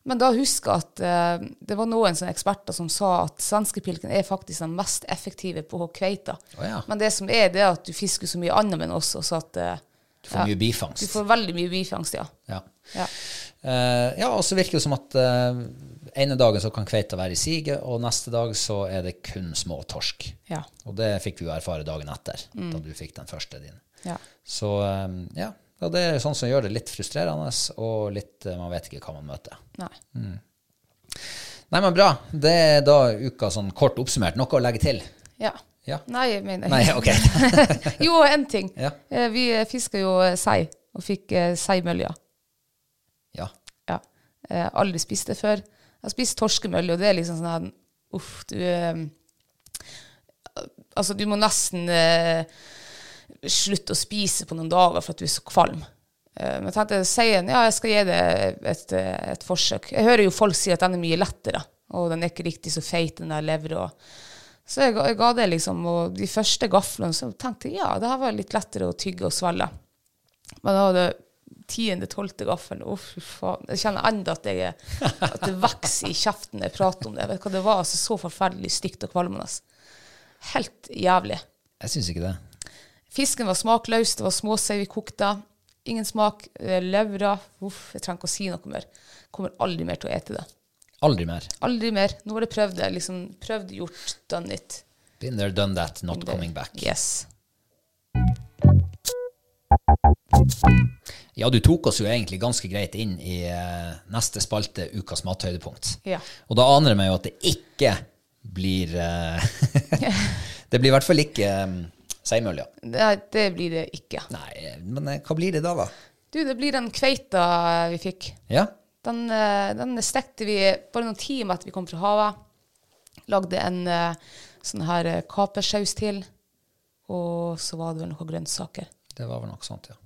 Speaker 2: Men da husker jeg at eh, det var noen sånne eksperter som sa at svenskepilken er faktisk den mest effektive på kveita.
Speaker 1: Å ja.
Speaker 2: Men det som er, det er at du fisker så mye annet med den også, så at eh,
Speaker 1: Du får mye bifangst.
Speaker 2: du får veldig mye bifangst, ja.
Speaker 1: Ja.
Speaker 2: Ja.
Speaker 1: Eh, ja, og så virker det som at eh, ene dagen så kan kveita være i siget, og neste dag så er det kun små torsk.
Speaker 2: Ja.
Speaker 1: Og det fikk vi jo erfare dagen etter,
Speaker 2: Mm.
Speaker 1: da du fikk den første din.
Speaker 2: Ja.
Speaker 1: Så eh, ja, ja, det er sånn som gjør det litt frustrerende, og litt eh, man vet ikke hva man møter.
Speaker 2: Nei.
Speaker 1: Nei, men bra. Det er da uka sånn kort oppsummert. Noe å legge til?
Speaker 2: Ja.
Speaker 1: Ja.
Speaker 2: Nei, jeg mener
Speaker 1: Nei, [LAUGHS] ok.
Speaker 2: [LAUGHS] Jo, en ting.
Speaker 1: Ja.
Speaker 2: Eh, Vi eh, fisker jo eh, sei, og fikk eh, seimølja.
Speaker 1: Ja.
Speaker 2: Ja. Eh, aldri spist det før. Jeg har spist torskemølje, og det er liksom sånn her Uff, du eh, Altså, du må nesten eh, slutte å spise på noen dager for at du er så kvalm. Eh, men jeg tenkte seien Ja, jeg skal gi det et, eh, et forsøk. Jeg hører jo folk si at den er mye lettere, og den er ikke riktig så feit, den der levra. Så jeg, ga- jeg ga det liksom, og de første gaflene så tenkte jeg ja, det her var litt lettere å tygge og svelge. Men da var det tiende-tolvte gaffelen. Å, fy faen. Jeg kjenner enda at, jeg, er- at det vokser i kjeften når jeg prater om det. Jeg vet hva det var altså, så forferdelig stygt og kvalmende. Helt jævlig.
Speaker 1: Jeg syns ikke det.
Speaker 2: Fisken var smakløs, det var småsei vi kokte. Ingen smak. eh, Levra. Uff, jeg trenger ikke å si noe mer. Kommer aldri mer til å ete det.
Speaker 1: Aldri mer.
Speaker 2: Aldri mer. Nå har jeg prøvd det. Liksom, prøvd, gjort, done it.
Speaker 1: Been there, done that, not coming back.
Speaker 2: Yes.
Speaker 1: Ja, du tok oss jo egentlig ganske greit inn i eh, neste spalte, ukas mathøydepunkt.
Speaker 2: Ja.
Speaker 1: Og da aner det meg jo at det ikke blir eh, [LAUGHS] Det blir i hvert fall ikke um, seimølja.
Speaker 2: Nei, det blir det ikke.
Speaker 1: Nei, men eh, hva blir det da, da?
Speaker 2: Du, det blir den kveita vi fikk.
Speaker 1: Ja?
Speaker 2: Den, eh, den stekte vi bare noen timer etter vi kom fra havet. Lagde en eh, sånn her eh, kapersaus til. Og så var det vel noen grønnsaker.
Speaker 1: Det var vel noe sånt, ja.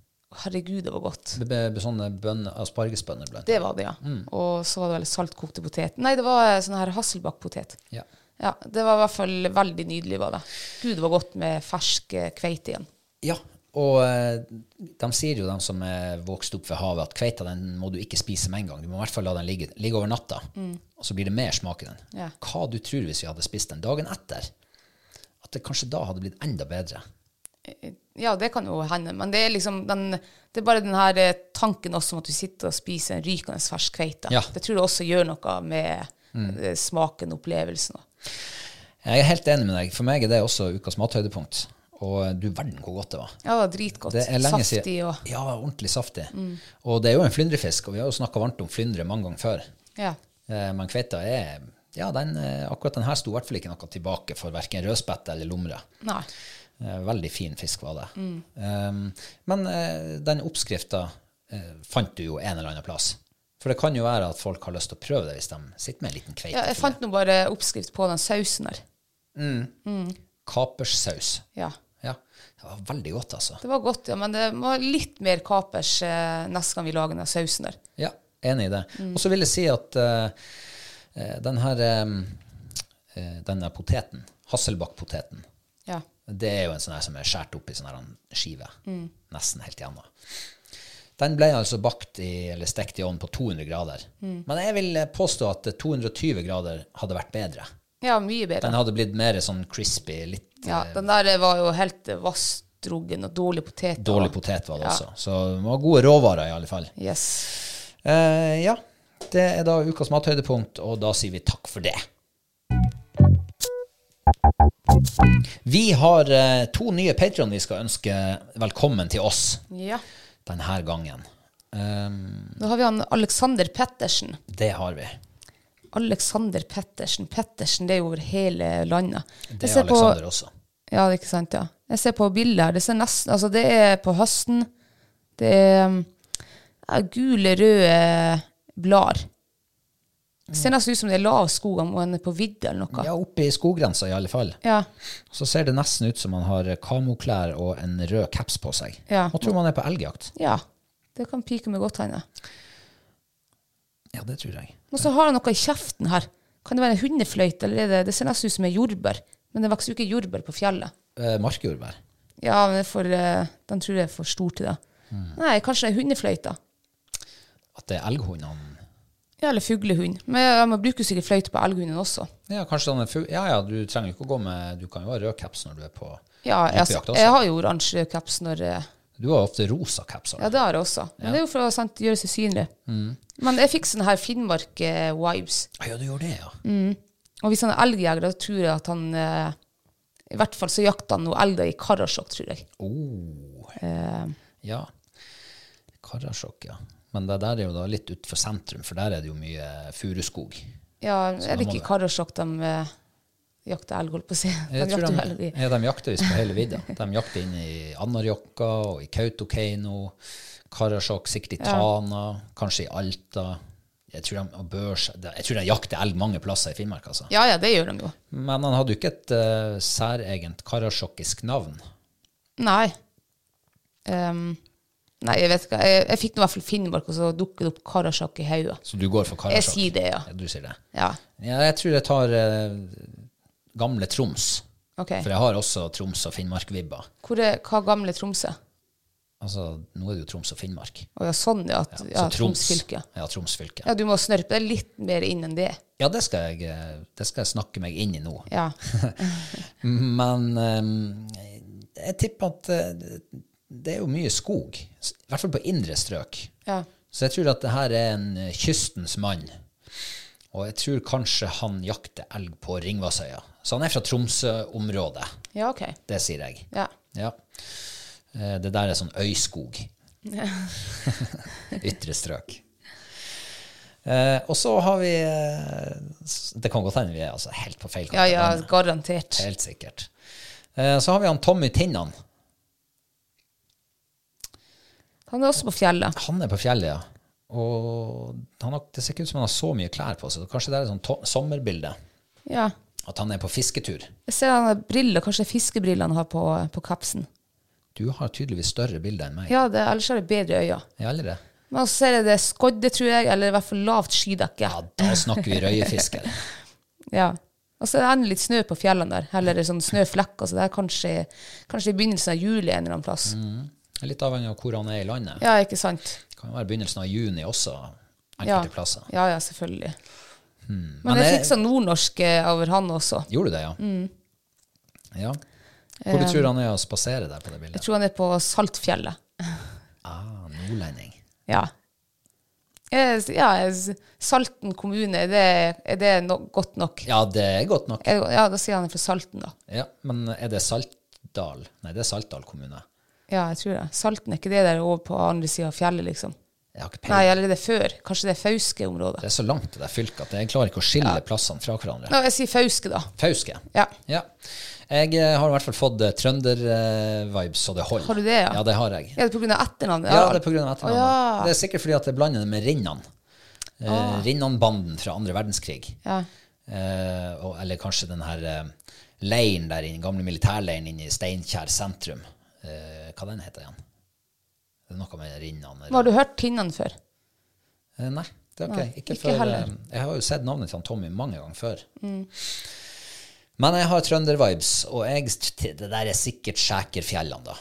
Speaker 2: Herregud, det var godt.
Speaker 1: Det ble- ble Sånne bønner, aspargesbønner blant
Speaker 2: Det var det, ja. Og så var det vel saltkokte potet. Nei, det var eh, sånn her hasselbakkpotet.
Speaker 1: Ja.
Speaker 2: Ja, det var i hvert fall veldig nydelig, var det. Gud, det var godt med fersk eh, kveite igjen.
Speaker 1: ja. Og eh, de sier jo, de som er vokst opp ved havet, at kveita den må du ikke spise med en gang. Du må i hvert fall la den ligge, ligge over natta, og så blir det mer smak i den.
Speaker 2: Mm. Ja.
Speaker 1: Hva du tror hvis vi hadde spist den dagen etter, at det kanskje da hadde blitt enda bedre.
Speaker 2: Ja, det kan jo hende, men det er liksom den, det er bare den her eh, tanken også om at du sitter og spiser en rykende fersk kveite.
Speaker 1: Ja. Mm.
Speaker 2: Det tror jeg også gjør noe med eh, smaken og opplevelsen.
Speaker 1: Jeg er helt enig med deg. For meg er det også ukas mathøydepunkt. Og eh, du verden hvor godt det var.
Speaker 2: Ja, det var dritgodt.
Speaker 1: Det er lenge
Speaker 2: Saftig
Speaker 1: siden.
Speaker 2: og Mm.
Speaker 1: Ja, ordentlig saftig. Og det er jo en flyndrefisk, og vi har jo snakka varmt om flyndre mange ganger før.
Speaker 2: Ja.
Speaker 1: Eh, Men kveita er Ja, den, eh, akkurat den her sto i hvert fall ikke noe tilbake for verken rødspette eller lomre.
Speaker 2: Nei.
Speaker 1: Eh, Veldig fin fisk var det. Um, men eh, den oppskrifta eh, fant du jo en eller annen plass. For det kan jo være at folk har lyst til å prøve det hvis de sitter med en liten kveite.
Speaker 2: Ja, jeg fant nå bare oppskrift på den sausen der.
Speaker 1: Kaperssaus.
Speaker 2: Ja.
Speaker 1: Ja. Det var veldig godt, altså.
Speaker 2: Det var godt, ja, men det må litt mer kapers eh, neste gang vi lager den sausen der.
Speaker 1: Ja, enig i det. Og så vil jeg si at eh, eh, den her eh, denne poteten, Hasselbakkpoteten,
Speaker 2: Ja.
Speaker 1: det er jo en sånn her som er skåret opp i sånn her skive. Nesten helt igjennom. Den ble altså bakt i, eller stekt i ovnen på 200 grader. Men jeg vil eh, påstå at 220 grader hadde vært bedre.
Speaker 2: ja, mye bedre.
Speaker 1: Den hadde blitt mer sånn crispy, litt
Speaker 2: Ja, den der var jo helt eh, vassdrogen og dårlig potet.
Speaker 1: dårlig potet var det også. Så det var gode råvarer i alle fall.
Speaker 2: Yes.
Speaker 1: Eh, ja, det er da ukas mathøydepunkt, og da sier vi takk for det. Vi har eh, to nye patrioner vi skal ønske velkommen til oss
Speaker 2: Ja.
Speaker 1: denne gangen. Um,
Speaker 2: Nå har vi han Alexander Pettersen.
Speaker 1: det har vi.
Speaker 2: Alexander Pettersen. Pettersen, det er jo over hele landet. Jeg
Speaker 1: Det
Speaker 2: ser
Speaker 1: er
Speaker 2: på-
Speaker 1: Alexander også.
Speaker 2: Ja, det er ikke sant, ja. Jeg ser på bildet her. Det, ser nesten, altså det er på høsten. Det er um, ja, gule, røde blader. Det ser nesten ut som det er lav skog, om han er på vidda eller noe.
Speaker 1: Mm. Ja, oppe i skoggrensa i alle fall.
Speaker 2: Ja.
Speaker 1: Så ser det nesten ut som han har kamoklær og en rød caps på seg.
Speaker 2: Ja.
Speaker 1: Man tror man er på elgjakt.
Speaker 2: ja. Det kan pike meg godt, han. ja.
Speaker 1: Ja, det tror jeg.
Speaker 2: Og så har han noe i kjeften her. Kan det være en hundefløyte? Eller er det, det ser nesten ut som en jordbær. Men det vokser jo ikke jordbær på fjellet.
Speaker 1: Eh, Markjordbær.
Speaker 2: Ja, men det er for, eh, den tror jeg er for stor til det.
Speaker 1: Mm.
Speaker 2: Nei, kanskje det er hundefløyta.
Speaker 1: At det er elghundene
Speaker 2: Ja, eller fuglehund. Men ja, man bruker sikkert fløyte på elghunden også.
Speaker 1: Ja, kanskje den er full. Ja, ja, du trenger jo ikke å gå med Du kan jo ha rød caps når du er på
Speaker 2: Ja, jeg,
Speaker 1: Jeppejakt også.
Speaker 2: jeg har jo oransje caps når eh,
Speaker 1: Du har ofte rosa caps. altså. har du?
Speaker 2: Ja, det har jeg også. Men det er jo for å sant, gjøre seg synlig.
Speaker 1: Mm.
Speaker 2: Men jeg fikk sånne her Finnmark-vibes.
Speaker 1: Ah, ja, du gjorde det, ja.
Speaker 2: Mm. Og hvis han er elgjeger, da tror jeg at han eh, I hvert fall så jakter han noe elg da i Karasjok, tror jeg.
Speaker 1: Ja. Karasjok, ja. Men det der er jo da litt utenfor sentrum, for der er det jo mye furuskog.
Speaker 2: Ja, er
Speaker 1: da
Speaker 2: det
Speaker 1: må
Speaker 2: ikke i Karasjok de eh, jakter elg, holdt på å si? De
Speaker 1: Jeg tror
Speaker 2: jakter
Speaker 1: de,
Speaker 2: elg i-
Speaker 1: ja, de jakter visst på hele
Speaker 2: [LAUGHS]
Speaker 1: vidda. De jakter inn i Anárjohka og i Kautokeino, Karasjok, sikkert i Tana, kanskje i Alta. Jeg tror, de, og børs, jeg tror de jakter elg mange plasser i Finnmark, altså.
Speaker 2: Ja, ja, det gjør de jo.
Speaker 1: Men han hadde jo ikke et eh, særegent karasjokkisk navn.
Speaker 2: Nei. Ehm, nei, jeg vet ikke. Jeg, jeg fikk nå i hvert fall Finnmark, og så dukker det opp Karasjok i hodet.
Speaker 1: Så du går for
Speaker 2: Jeg
Speaker 1: Karasjok?
Speaker 2: sier det, ja.
Speaker 1: Ja, du sier det.
Speaker 2: Ja,
Speaker 1: Ja, jeg tror jeg tar eh, gamle Troms.
Speaker 2: ok.
Speaker 1: For jeg har også Troms og Finnmark-vibber.
Speaker 2: Hvor er, hva gamle Tromsø?
Speaker 1: Altså, nå er det jo Troms og Finnmark.
Speaker 2: Å ja, sånn, ja. At, ja,
Speaker 1: Så
Speaker 2: Troms fylke.
Speaker 1: Ja, Troms fylke.
Speaker 2: Ja, du må snørpe deg litt mer inn enn det.
Speaker 1: Ja, det skal jeg, eh, det skal jeg snakke meg inn i nå.
Speaker 2: Ja.
Speaker 1: Men eh, jeg tipper at eh, det er jo mye skog. s- I hvert fall på indre strøk.
Speaker 2: ja.
Speaker 1: Så jeg tror at det her er en eh, kystens mann. Og jeg tror kanskje han jakter elg på Ringvassøya. Så han er fra Tromsø-området.
Speaker 2: Ja, ok.
Speaker 1: Det sier jeg.
Speaker 2: Ja.
Speaker 1: Ja. Eh, Det der er sånn øyskog. [LAUGHS] Ytre strøk. Eh, og så har vi eh, s- Det kan godt hende vi er altså helt på feil kant.
Speaker 2: ja, ja,
Speaker 1: men
Speaker 2: garantert.
Speaker 1: Helt sikkert. Eh, så har vi han Tommy Tinnan.
Speaker 2: Han er også på fjellet.
Speaker 1: Han er på fjellet, ja. Og han har, det ser ikke ut som han har så mye klær på seg. Kanskje det er et sånt to- sommerbilde.
Speaker 2: Ja.
Speaker 1: At han er på fisketur.
Speaker 2: Jeg ser han har briller, kanskje det er fiskebriller han har på, på kapsen.
Speaker 1: Du har tydeligvis større bilder enn meg.
Speaker 2: Ja, det, ellers er det bedre øyne.
Speaker 1: Ja, eller det?
Speaker 2: Men så ser jeg det er skodde, tror jeg, eller i hvert fall lavt skydekke.
Speaker 1: Ja, da snakker vi røyefisker.
Speaker 2: Ja. Og så er det enda litt snø på fjellene der, eller sånn snøflekker, så det er kanskje, kanskje i begynnelsen av juli en eller annen plass.
Speaker 1: Mm. Litt avhengig av hvor han er i landet.
Speaker 2: Ja, ikke sant?
Speaker 1: Det kan jo være begynnelsen av juni også,
Speaker 2: Ja.
Speaker 1: enkelte plasser. Mm.
Speaker 2: Ja, ja, selvfølgelig. Men,
Speaker 1: Men
Speaker 2: jeg
Speaker 1: jeg-
Speaker 2: fikk sånn nordnorsk eh, over han også.
Speaker 1: Gjorde du det, ja?
Speaker 2: Mm.
Speaker 1: Ja. Hvor du tror han er å spasere der på det
Speaker 2: Eh, Jeg
Speaker 1: bildet?
Speaker 2: tror han er på Saltfjellet.
Speaker 1: Ah, nordlending.
Speaker 2: Ja. Jeg, Eh, ja, jeg, Salten kommune, er det, er det no, godt nok?
Speaker 1: Ja, det er godt nok.
Speaker 2: Er det- Ja, da sier han er fra Salten, da.
Speaker 1: Ja, men er det Saltdal? Nei, det er Saltdal kommune.
Speaker 2: Ja, jeg tror det. Salten er ikke det der over på andre sida av fjellet, liksom.
Speaker 1: Jeg har ikke
Speaker 2: Nei,
Speaker 1: peiling.
Speaker 2: eller det er før. Kanskje det er Fauske-området.
Speaker 1: Det er så langt det der fylket at jeg klarer ikke å skille plassene fra hverandre.
Speaker 2: Nå, jeg sier Fauske, da.
Speaker 1: Fauske.
Speaker 2: Ja.
Speaker 1: Ja. Jeg eh, har i hvert fall fått trønder-vibes så det holder.
Speaker 2: Har du det, ja?
Speaker 1: Ja, det har jeg.
Speaker 2: Er det pga. etternavnet?
Speaker 1: Ja, det er pga. etternavnet.
Speaker 2: Å, ja.
Speaker 1: Det er sikkert fordi at jeg blander det med Rinnan. Eh, Rinnan-banden fra andre verdenskrig.
Speaker 2: Ja.
Speaker 1: Eh, og, eller kanskje den her eh, leiren der inne, gamle militærleiren inne i Steinkjer sentrum. Eh, hva den heter igjen? Det er noe med Rinnan eller-
Speaker 2: Har du hørt Tinnan før?
Speaker 1: Eh, nei, det har ikke jeg. Ikke,
Speaker 2: ikke
Speaker 1: før,
Speaker 2: heller.
Speaker 1: eh, Jeg har jo sett navnet til han Tommy mange ganger før. Men jeg har trønder-vibes, og jeg, det der er sikkert Skjækerfjellene, da.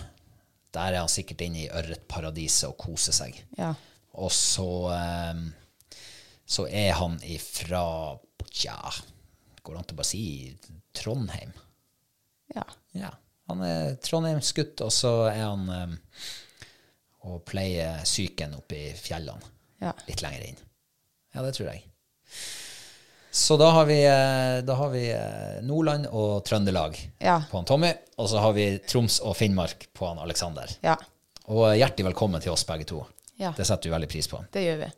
Speaker 1: Der er han sikkert inne i ørretparadiset og koser seg.
Speaker 2: Ja.
Speaker 1: Og så, eh, så er han ifra Tja, går det an til å bare si Trondheim?
Speaker 2: ja.
Speaker 1: Ja. Han er Trondheimsgutt, og så er han eh, og pleier psyken oppe i fjellene.
Speaker 2: Ja.
Speaker 1: Litt lenger inn. Ja, det tror jeg. Så da har vi, eh, da har vi eh, Nordland og Trøndelag
Speaker 2: Ja.
Speaker 1: på han Tommy, og så har vi Troms og Finnmark på han Aleksander.
Speaker 2: ja.
Speaker 1: Og hjertelig velkommen til oss begge to.
Speaker 2: Ja.
Speaker 1: Det setter vi veldig pris på.
Speaker 2: Det gjør vi.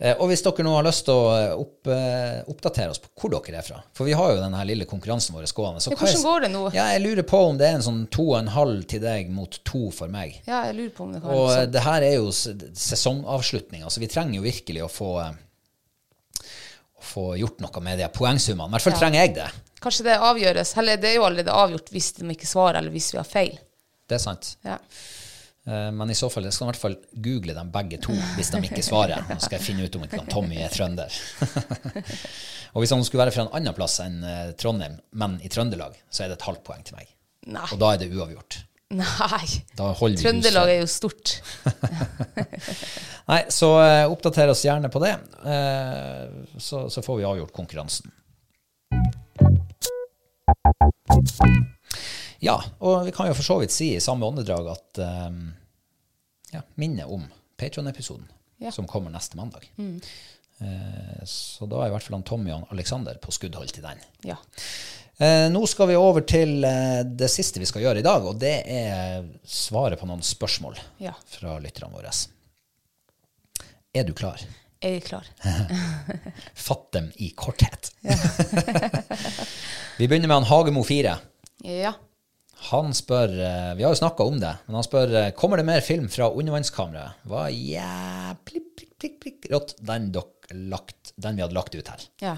Speaker 1: Eh, Og hvis dere nå har lyst til å eh, opp, eh, oppdatere oss på hvor dere er fra, for vi har jo denne lille konkurransen vår gående så
Speaker 2: Ja,
Speaker 1: hva er-
Speaker 2: hvordan går det nå?
Speaker 1: Ja, jeg lurer på om det er en sånn to og en halv til deg mot to for meg.
Speaker 2: Ja, jeg lurer på om det kan
Speaker 1: Og
Speaker 2: være
Speaker 1: eh,
Speaker 2: sånn.
Speaker 1: det her er jo s- sesongavslutninga, så vi trenger jo virkelig å få eh, å få gjort noe med de her poengsummene. I hvert fall trenger jeg det.
Speaker 2: Kanskje det avgjøres. Eller det er jo allerede avgjort hvis de ikke svarer, eller hvis vi har feil.
Speaker 1: Det er sant.
Speaker 2: Ja. [LAUGHS]
Speaker 1: Eh, Men i så fall jeg skal i hvert fall google dem begge to hvis de ikke svarer. Nå skal jeg finne ut om ikke han Tommy er trønder. [LAUGHS] og hvis han skulle være fra en annen plass enn eh, Trondheim, men i Trøndelag, så er det et halvt poeng til meg.
Speaker 2: Nei.
Speaker 1: Og da er det uavgjort.
Speaker 2: Nei.
Speaker 1: Da holder vi huset.
Speaker 2: Trøndelag er jo stort.
Speaker 1: Nei, så eh, oppdater oss gjerne på det, eh, så, så får vi avgjort konkurransen. Ja, og vi kan jo for så vidt si i samme åndedrag at eh, ja, minnet om Patron-episoden
Speaker 2: Ja.
Speaker 1: som kommer neste mandag. Eh, så da er i hvert fall han Tommy og han Alexander på skuddhold til den.
Speaker 2: Ja.
Speaker 1: Eh, nå skal vi over til eh, det siste vi skal gjøre i dag, og det er svaret på noen spørsmål
Speaker 2: Ja.
Speaker 1: fra lytterne våre. Er du klar?
Speaker 2: Jeg er klar.
Speaker 1: Fatt dem i korthet. [LAUGHS] vi begynner med han Hagemo 4.
Speaker 2: Ja.
Speaker 1: Han spør, eh, Vi har jo snakka om det, men han spør eh, kommer det mer film fra undervannskameraet. Hva jævlig prikk, prikk, prikk, rått den, dok lagt, den vi hadde lagt ut her.
Speaker 2: Ja.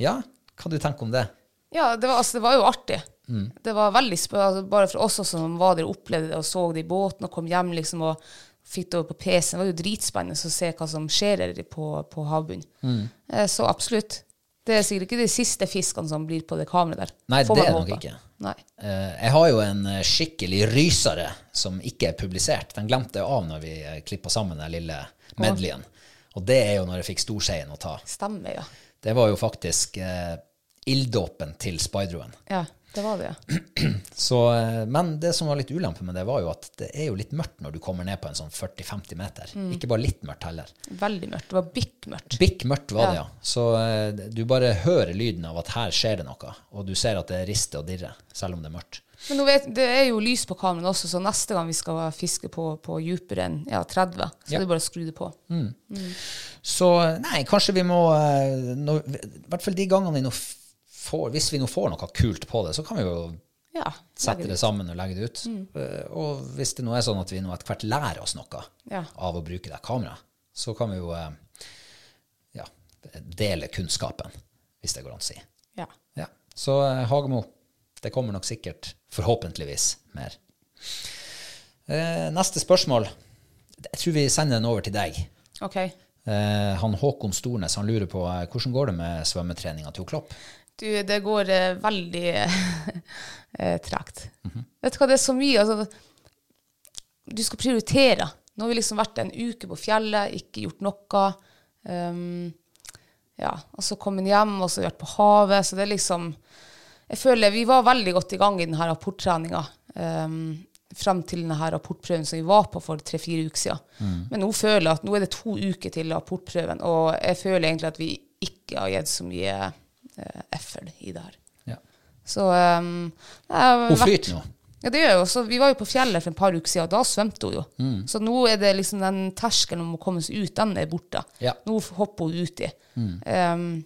Speaker 1: Ja, hva du tenker om det?
Speaker 2: Ja, det var, altså, det var jo artig.
Speaker 1: Mm.
Speaker 2: Det var veldig spennende, altså, bare for oss også som var der og opplevde det og så det i båten og kom hjem liksom og fikk det over på PC-en. Det var jo dritspennende å se hva som skjer her på, på havbunnen.
Speaker 1: Mm.
Speaker 2: Eh, Så absolutt. Det er sikkert ikke de siste fiskene som blir på det kameraet der.
Speaker 1: Nei,
Speaker 2: Får
Speaker 1: det
Speaker 2: man
Speaker 1: er det nok
Speaker 2: håpe.
Speaker 1: ikke.
Speaker 2: Nei.
Speaker 1: Eh, Jeg har jo en eh, skikkelig rysere som ikke er publisert. Den glemte jeg av når vi klippa sammen den lille medleyen. Og det er jo når jeg fikk storseien å ta.
Speaker 2: Stemmer, ja.
Speaker 1: Det var jo faktisk eh, ilddåpen til speidroen.
Speaker 2: Ja, det var det, ja.
Speaker 1: Så, eh, men det som var litt ulempe med det, var jo at det er jo litt mørkt når du kommer ned på en sånn 40-50 meter. Ikke bare litt mørkt heller.
Speaker 2: Veldig mørkt. Det var bikkmørkt.
Speaker 1: Bikk mørkt var det,
Speaker 2: Ja.
Speaker 1: ja. Så eh, du bare hører lyden av at her skjer det noe, og du ser at det rister og dirrer, selv om det er mørkt.
Speaker 2: Men nå vet, det er jo lys på kameraet også, så neste gang vi skal fiske på, på dypere enn ja, 30, så
Speaker 1: Ja. Mm.
Speaker 2: er det bare å skru det på.
Speaker 1: Så nei, kanskje vi må eh, nå- I hvert fall de gangene vi nå f- får Hvis vi nå får noe kult på det, så kan vi jo
Speaker 2: Ja.
Speaker 1: sette det sammen og legge det ut. Eh, Og hvis det nå er sånn at vi nå etter hvert lærer oss noe
Speaker 2: Ja.
Speaker 1: av å bruke det kameraet, så kan vi jo eh, ja, dele kunnskapen, hvis det går an å si.
Speaker 2: Ja.
Speaker 1: Ja. Så eh, Hagemo, det kommer nok sikkert, forhåpentligvis, mer. Eh, Neste spørsmål. Jeg tror vi sender den over til deg.
Speaker 2: OK.
Speaker 1: Eh, han Håkon Stornes han lurer på eh, hvordan går det med svømmetreninga til Klopp.
Speaker 2: Du, det går eh, veldig [LAUGHS] eh, tregt. Vet du hva, det er så mye altså, Du skal prioritere. Nå har vi liksom vært en uke på fjellet, ikke gjort noe. Um, ja, og så kommet hjem, og så vært på havet. Så det er liksom Jeg føler vi var veldig godt i gang i denne rapporttreninga. Um, Frem til denne rapportprøven som vi var på for tre-fire uker siden. Men nå føler jeg at nå er det to uker til rapportprøven, og jeg føler egentlig at vi ikke har gitt så mye eh, effort i det her.
Speaker 1: Ja.
Speaker 2: Så um, jeg har
Speaker 1: Hun
Speaker 2: vært-
Speaker 1: flyter nå.
Speaker 2: Ja, det gjør jo. Så vi var jo på fjellet for et par uker siden, og da svømte hun jo. Så nå er det liksom den terskelen om å komme seg ut, den er borte.
Speaker 1: Ja.
Speaker 2: Nå hopper hun uti. Um,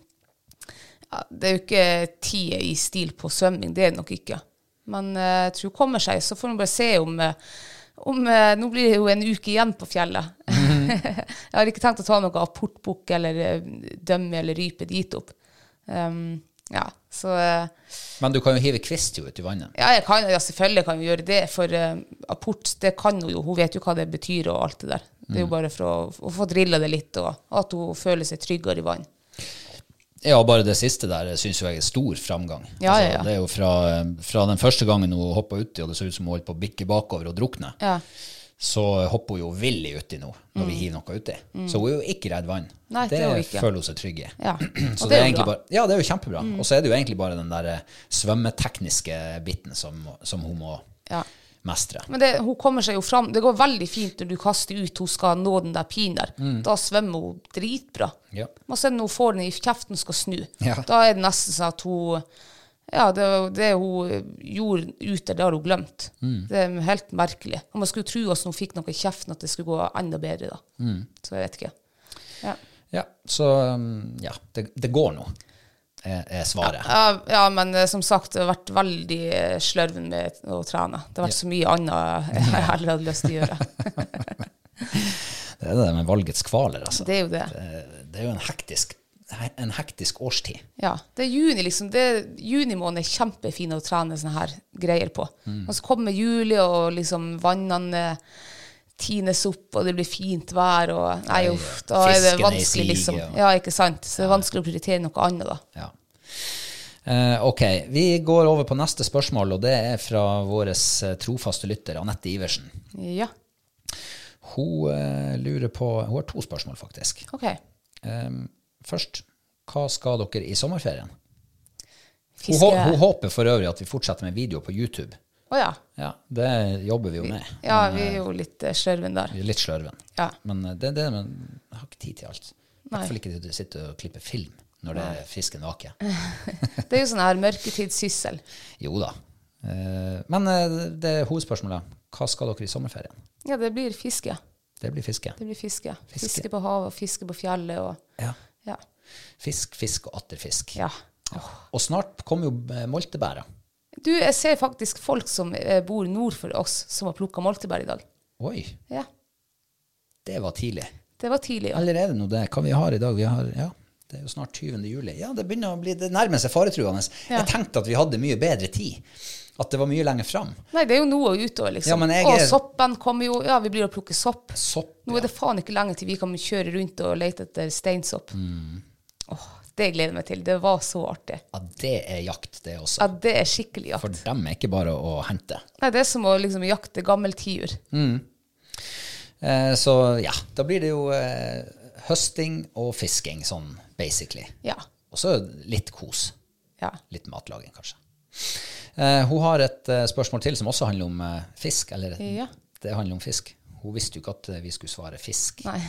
Speaker 2: ja, det er jo ikke tida i stil på svømming, det er det nok ikke. Men eh, jeg tror hun kommer seg, så får hun bare se om, eh, om eh, Nå blir det jo en uke igjen på fjellet. [LAUGHS] jeg har ikke tenkt å ta noe apportbukk eller eh, dømme eller rype dit opp. Um, ja, så eh,
Speaker 1: Men du kan jo hive kvist jo ut i vannet.
Speaker 2: ja, jeg kan, ja, selvfølgelig kan vi gjøre det, for eh, apport det kan hun jo. Hun vet jo hva det betyr og alt det der. Det er jo bare for å, å få drilla det litt, og, og at hun føler seg tryggere i vann.
Speaker 1: Ja, bare det siste der syns jeg er stor framgang. Altså,
Speaker 2: Ja, ja, ja.
Speaker 1: Det er jo fra, fra den første gangen hun hoppa uti, og det så ut som hun holdt på å bikke bakover og drukne,
Speaker 2: Ja.
Speaker 1: så hopper hun jo villig uti nå, når vi hiver noe uti. Så hun er jo ikke redd vann.
Speaker 2: Mm. Nei, det er hun ikke.
Speaker 1: føler hun seg trygg i. [CLEARS THROAT]
Speaker 2: Ja. Og
Speaker 1: Så
Speaker 2: det
Speaker 1: det er
Speaker 2: er jo
Speaker 1: egentlig
Speaker 2: bra. Mm.
Speaker 1: bare, ja, det er jo kjempebra. Og så er det jo egentlig bare den der eh, svømmetekniske biten som, som hun må
Speaker 2: Ja.
Speaker 1: mestre.
Speaker 2: Men det, hun kommer seg jo fram. Det går veldig fint når du kaster ut hun skal nå den der pinen der. Da svømmer hun dritbra.
Speaker 1: Ja.
Speaker 2: Men så er det når hun får den i kjeften og skal snu.
Speaker 1: Ja.
Speaker 2: Da er det nesten sånn at hun Ja, det, det hun gjorde ute, det har hun glemt. Det er helt merkelig. Og man skulle tro at hun fikk noe i kjeften, at det skulle gå enda bedre da. Så jeg vet ikke. Ja.
Speaker 1: Ja, så um, ja, det, det går nå, er, er svaret.
Speaker 2: Ja, ja, men eh, som sagt, det har vært veldig eh, slørven med å trene. Det har vært så mye annet jeg heller hadde lyst til å gjøre.
Speaker 1: Det er det med valgets kvaler, altså.
Speaker 2: Det er jo det.
Speaker 1: Det er jo en hektisk, en hektisk årstid.
Speaker 2: Ja, det er juni, liksom. Det er, juni måned er kjempefin å trene sånne her greier på. Og så kommer juli, og liksom vannene tines opp, og det blir fint vær, og nei, uff, da er det
Speaker 1: Fisken er i
Speaker 2: vanskelig,
Speaker 1: siget,
Speaker 2: liksom.
Speaker 1: og-
Speaker 2: Ja, ikke sant? Så det er vanskelig å prioritere noe annet, da.
Speaker 1: Ja. Eh, ok, vi går over på neste spørsmål, og det er fra vår trofaste lytter, Anette Iversen.
Speaker 2: Ja,
Speaker 1: Hun eh, lurer på Hun har to spørsmål, faktisk.
Speaker 2: OK.
Speaker 1: Ehm, først, hva skal dere i sommerferien? Hun,
Speaker 2: Fiske...
Speaker 1: hå- hun håper for øvrig at vi fortsetter med video på YouTube.
Speaker 2: Å ja.
Speaker 1: Ja, det jobber vi jo med.
Speaker 2: Ja, vi er jo litt eh, slørven der.
Speaker 1: Vi er litt slørven.
Speaker 2: Ja.
Speaker 1: Men eh, det, det, men jeg har ikke tid til alt. I
Speaker 2: Nei.
Speaker 1: hvert fall ikke til å sitte og klippe film når det er fisken vaker.
Speaker 2: Eh. Det er jo sånn her mørketidssyssel.
Speaker 1: Jo da. Eh, Men eh, det er hovedspørsmålet. Hva skal dere i sommerferien?
Speaker 2: Ja, det blir fiske.
Speaker 1: Det blir fiske.
Speaker 2: Det blir fiske.
Speaker 1: Fiske.
Speaker 2: Fiske, på havet, og fiske på fjellet og
Speaker 1: Ja.
Speaker 2: Ja.
Speaker 1: Fisk, fisk og atter fisk.
Speaker 2: ja.
Speaker 1: Og snart kommer jo eh, moltebæra.
Speaker 2: Du, jeg ser faktisk folk som eh, bor nord for oss, som har plukka moltebær i dag.
Speaker 1: Oi,
Speaker 2: Ja.
Speaker 1: det var tidlig.
Speaker 2: Det var tidlig. Ja.
Speaker 1: Eller er det nå det? Hva vi har i dag? Vi har, ja, det er jo snart 20. juli. Ja, det begynner å bli det nærmer seg faretruende.
Speaker 2: Ja.
Speaker 1: Jeg tenkte at vi hadde mye bedre tid. At det var mye lenger fram.
Speaker 2: Nei, det er jo noe å utover, liksom.
Speaker 1: Ja, men jeg
Speaker 2: og
Speaker 1: er-
Speaker 2: soppen kommer jo. Ja, vi blir å plukke sopp.
Speaker 1: Sopp.
Speaker 2: Nå er det faen ikke lenge til vi kan kjøre rundt og lete etter steinsopp.
Speaker 1: Mm.
Speaker 2: Åh, det gleder jeg meg til. Det var så artig.
Speaker 1: Ja, det er jakt, det også.
Speaker 2: Ja, det er skikkelig jakt.
Speaker 1: For dem er ikke bare å hente.
Speaker 2: Nei, det er som å liksom jakte gammel tiur.
Speaker 1: Mm. Eh, Så ja, da blir det jo eh, høsting og fisking, sånn basically.
Speaker 2: Ja.
Speaker 1: Og så litt kos.
Speaker 2: Ja.
Speaker 1: Litt matlaging, kanskje. Eh, hun har et eh, spørsmål til som også handler om eh, fisk. Eller
Speaker 2: Ja.
Speaker 1: det handler om fisk. Hun visste jo ikke at eh, vi skulle svare fisk.
Speaker 2: Nei.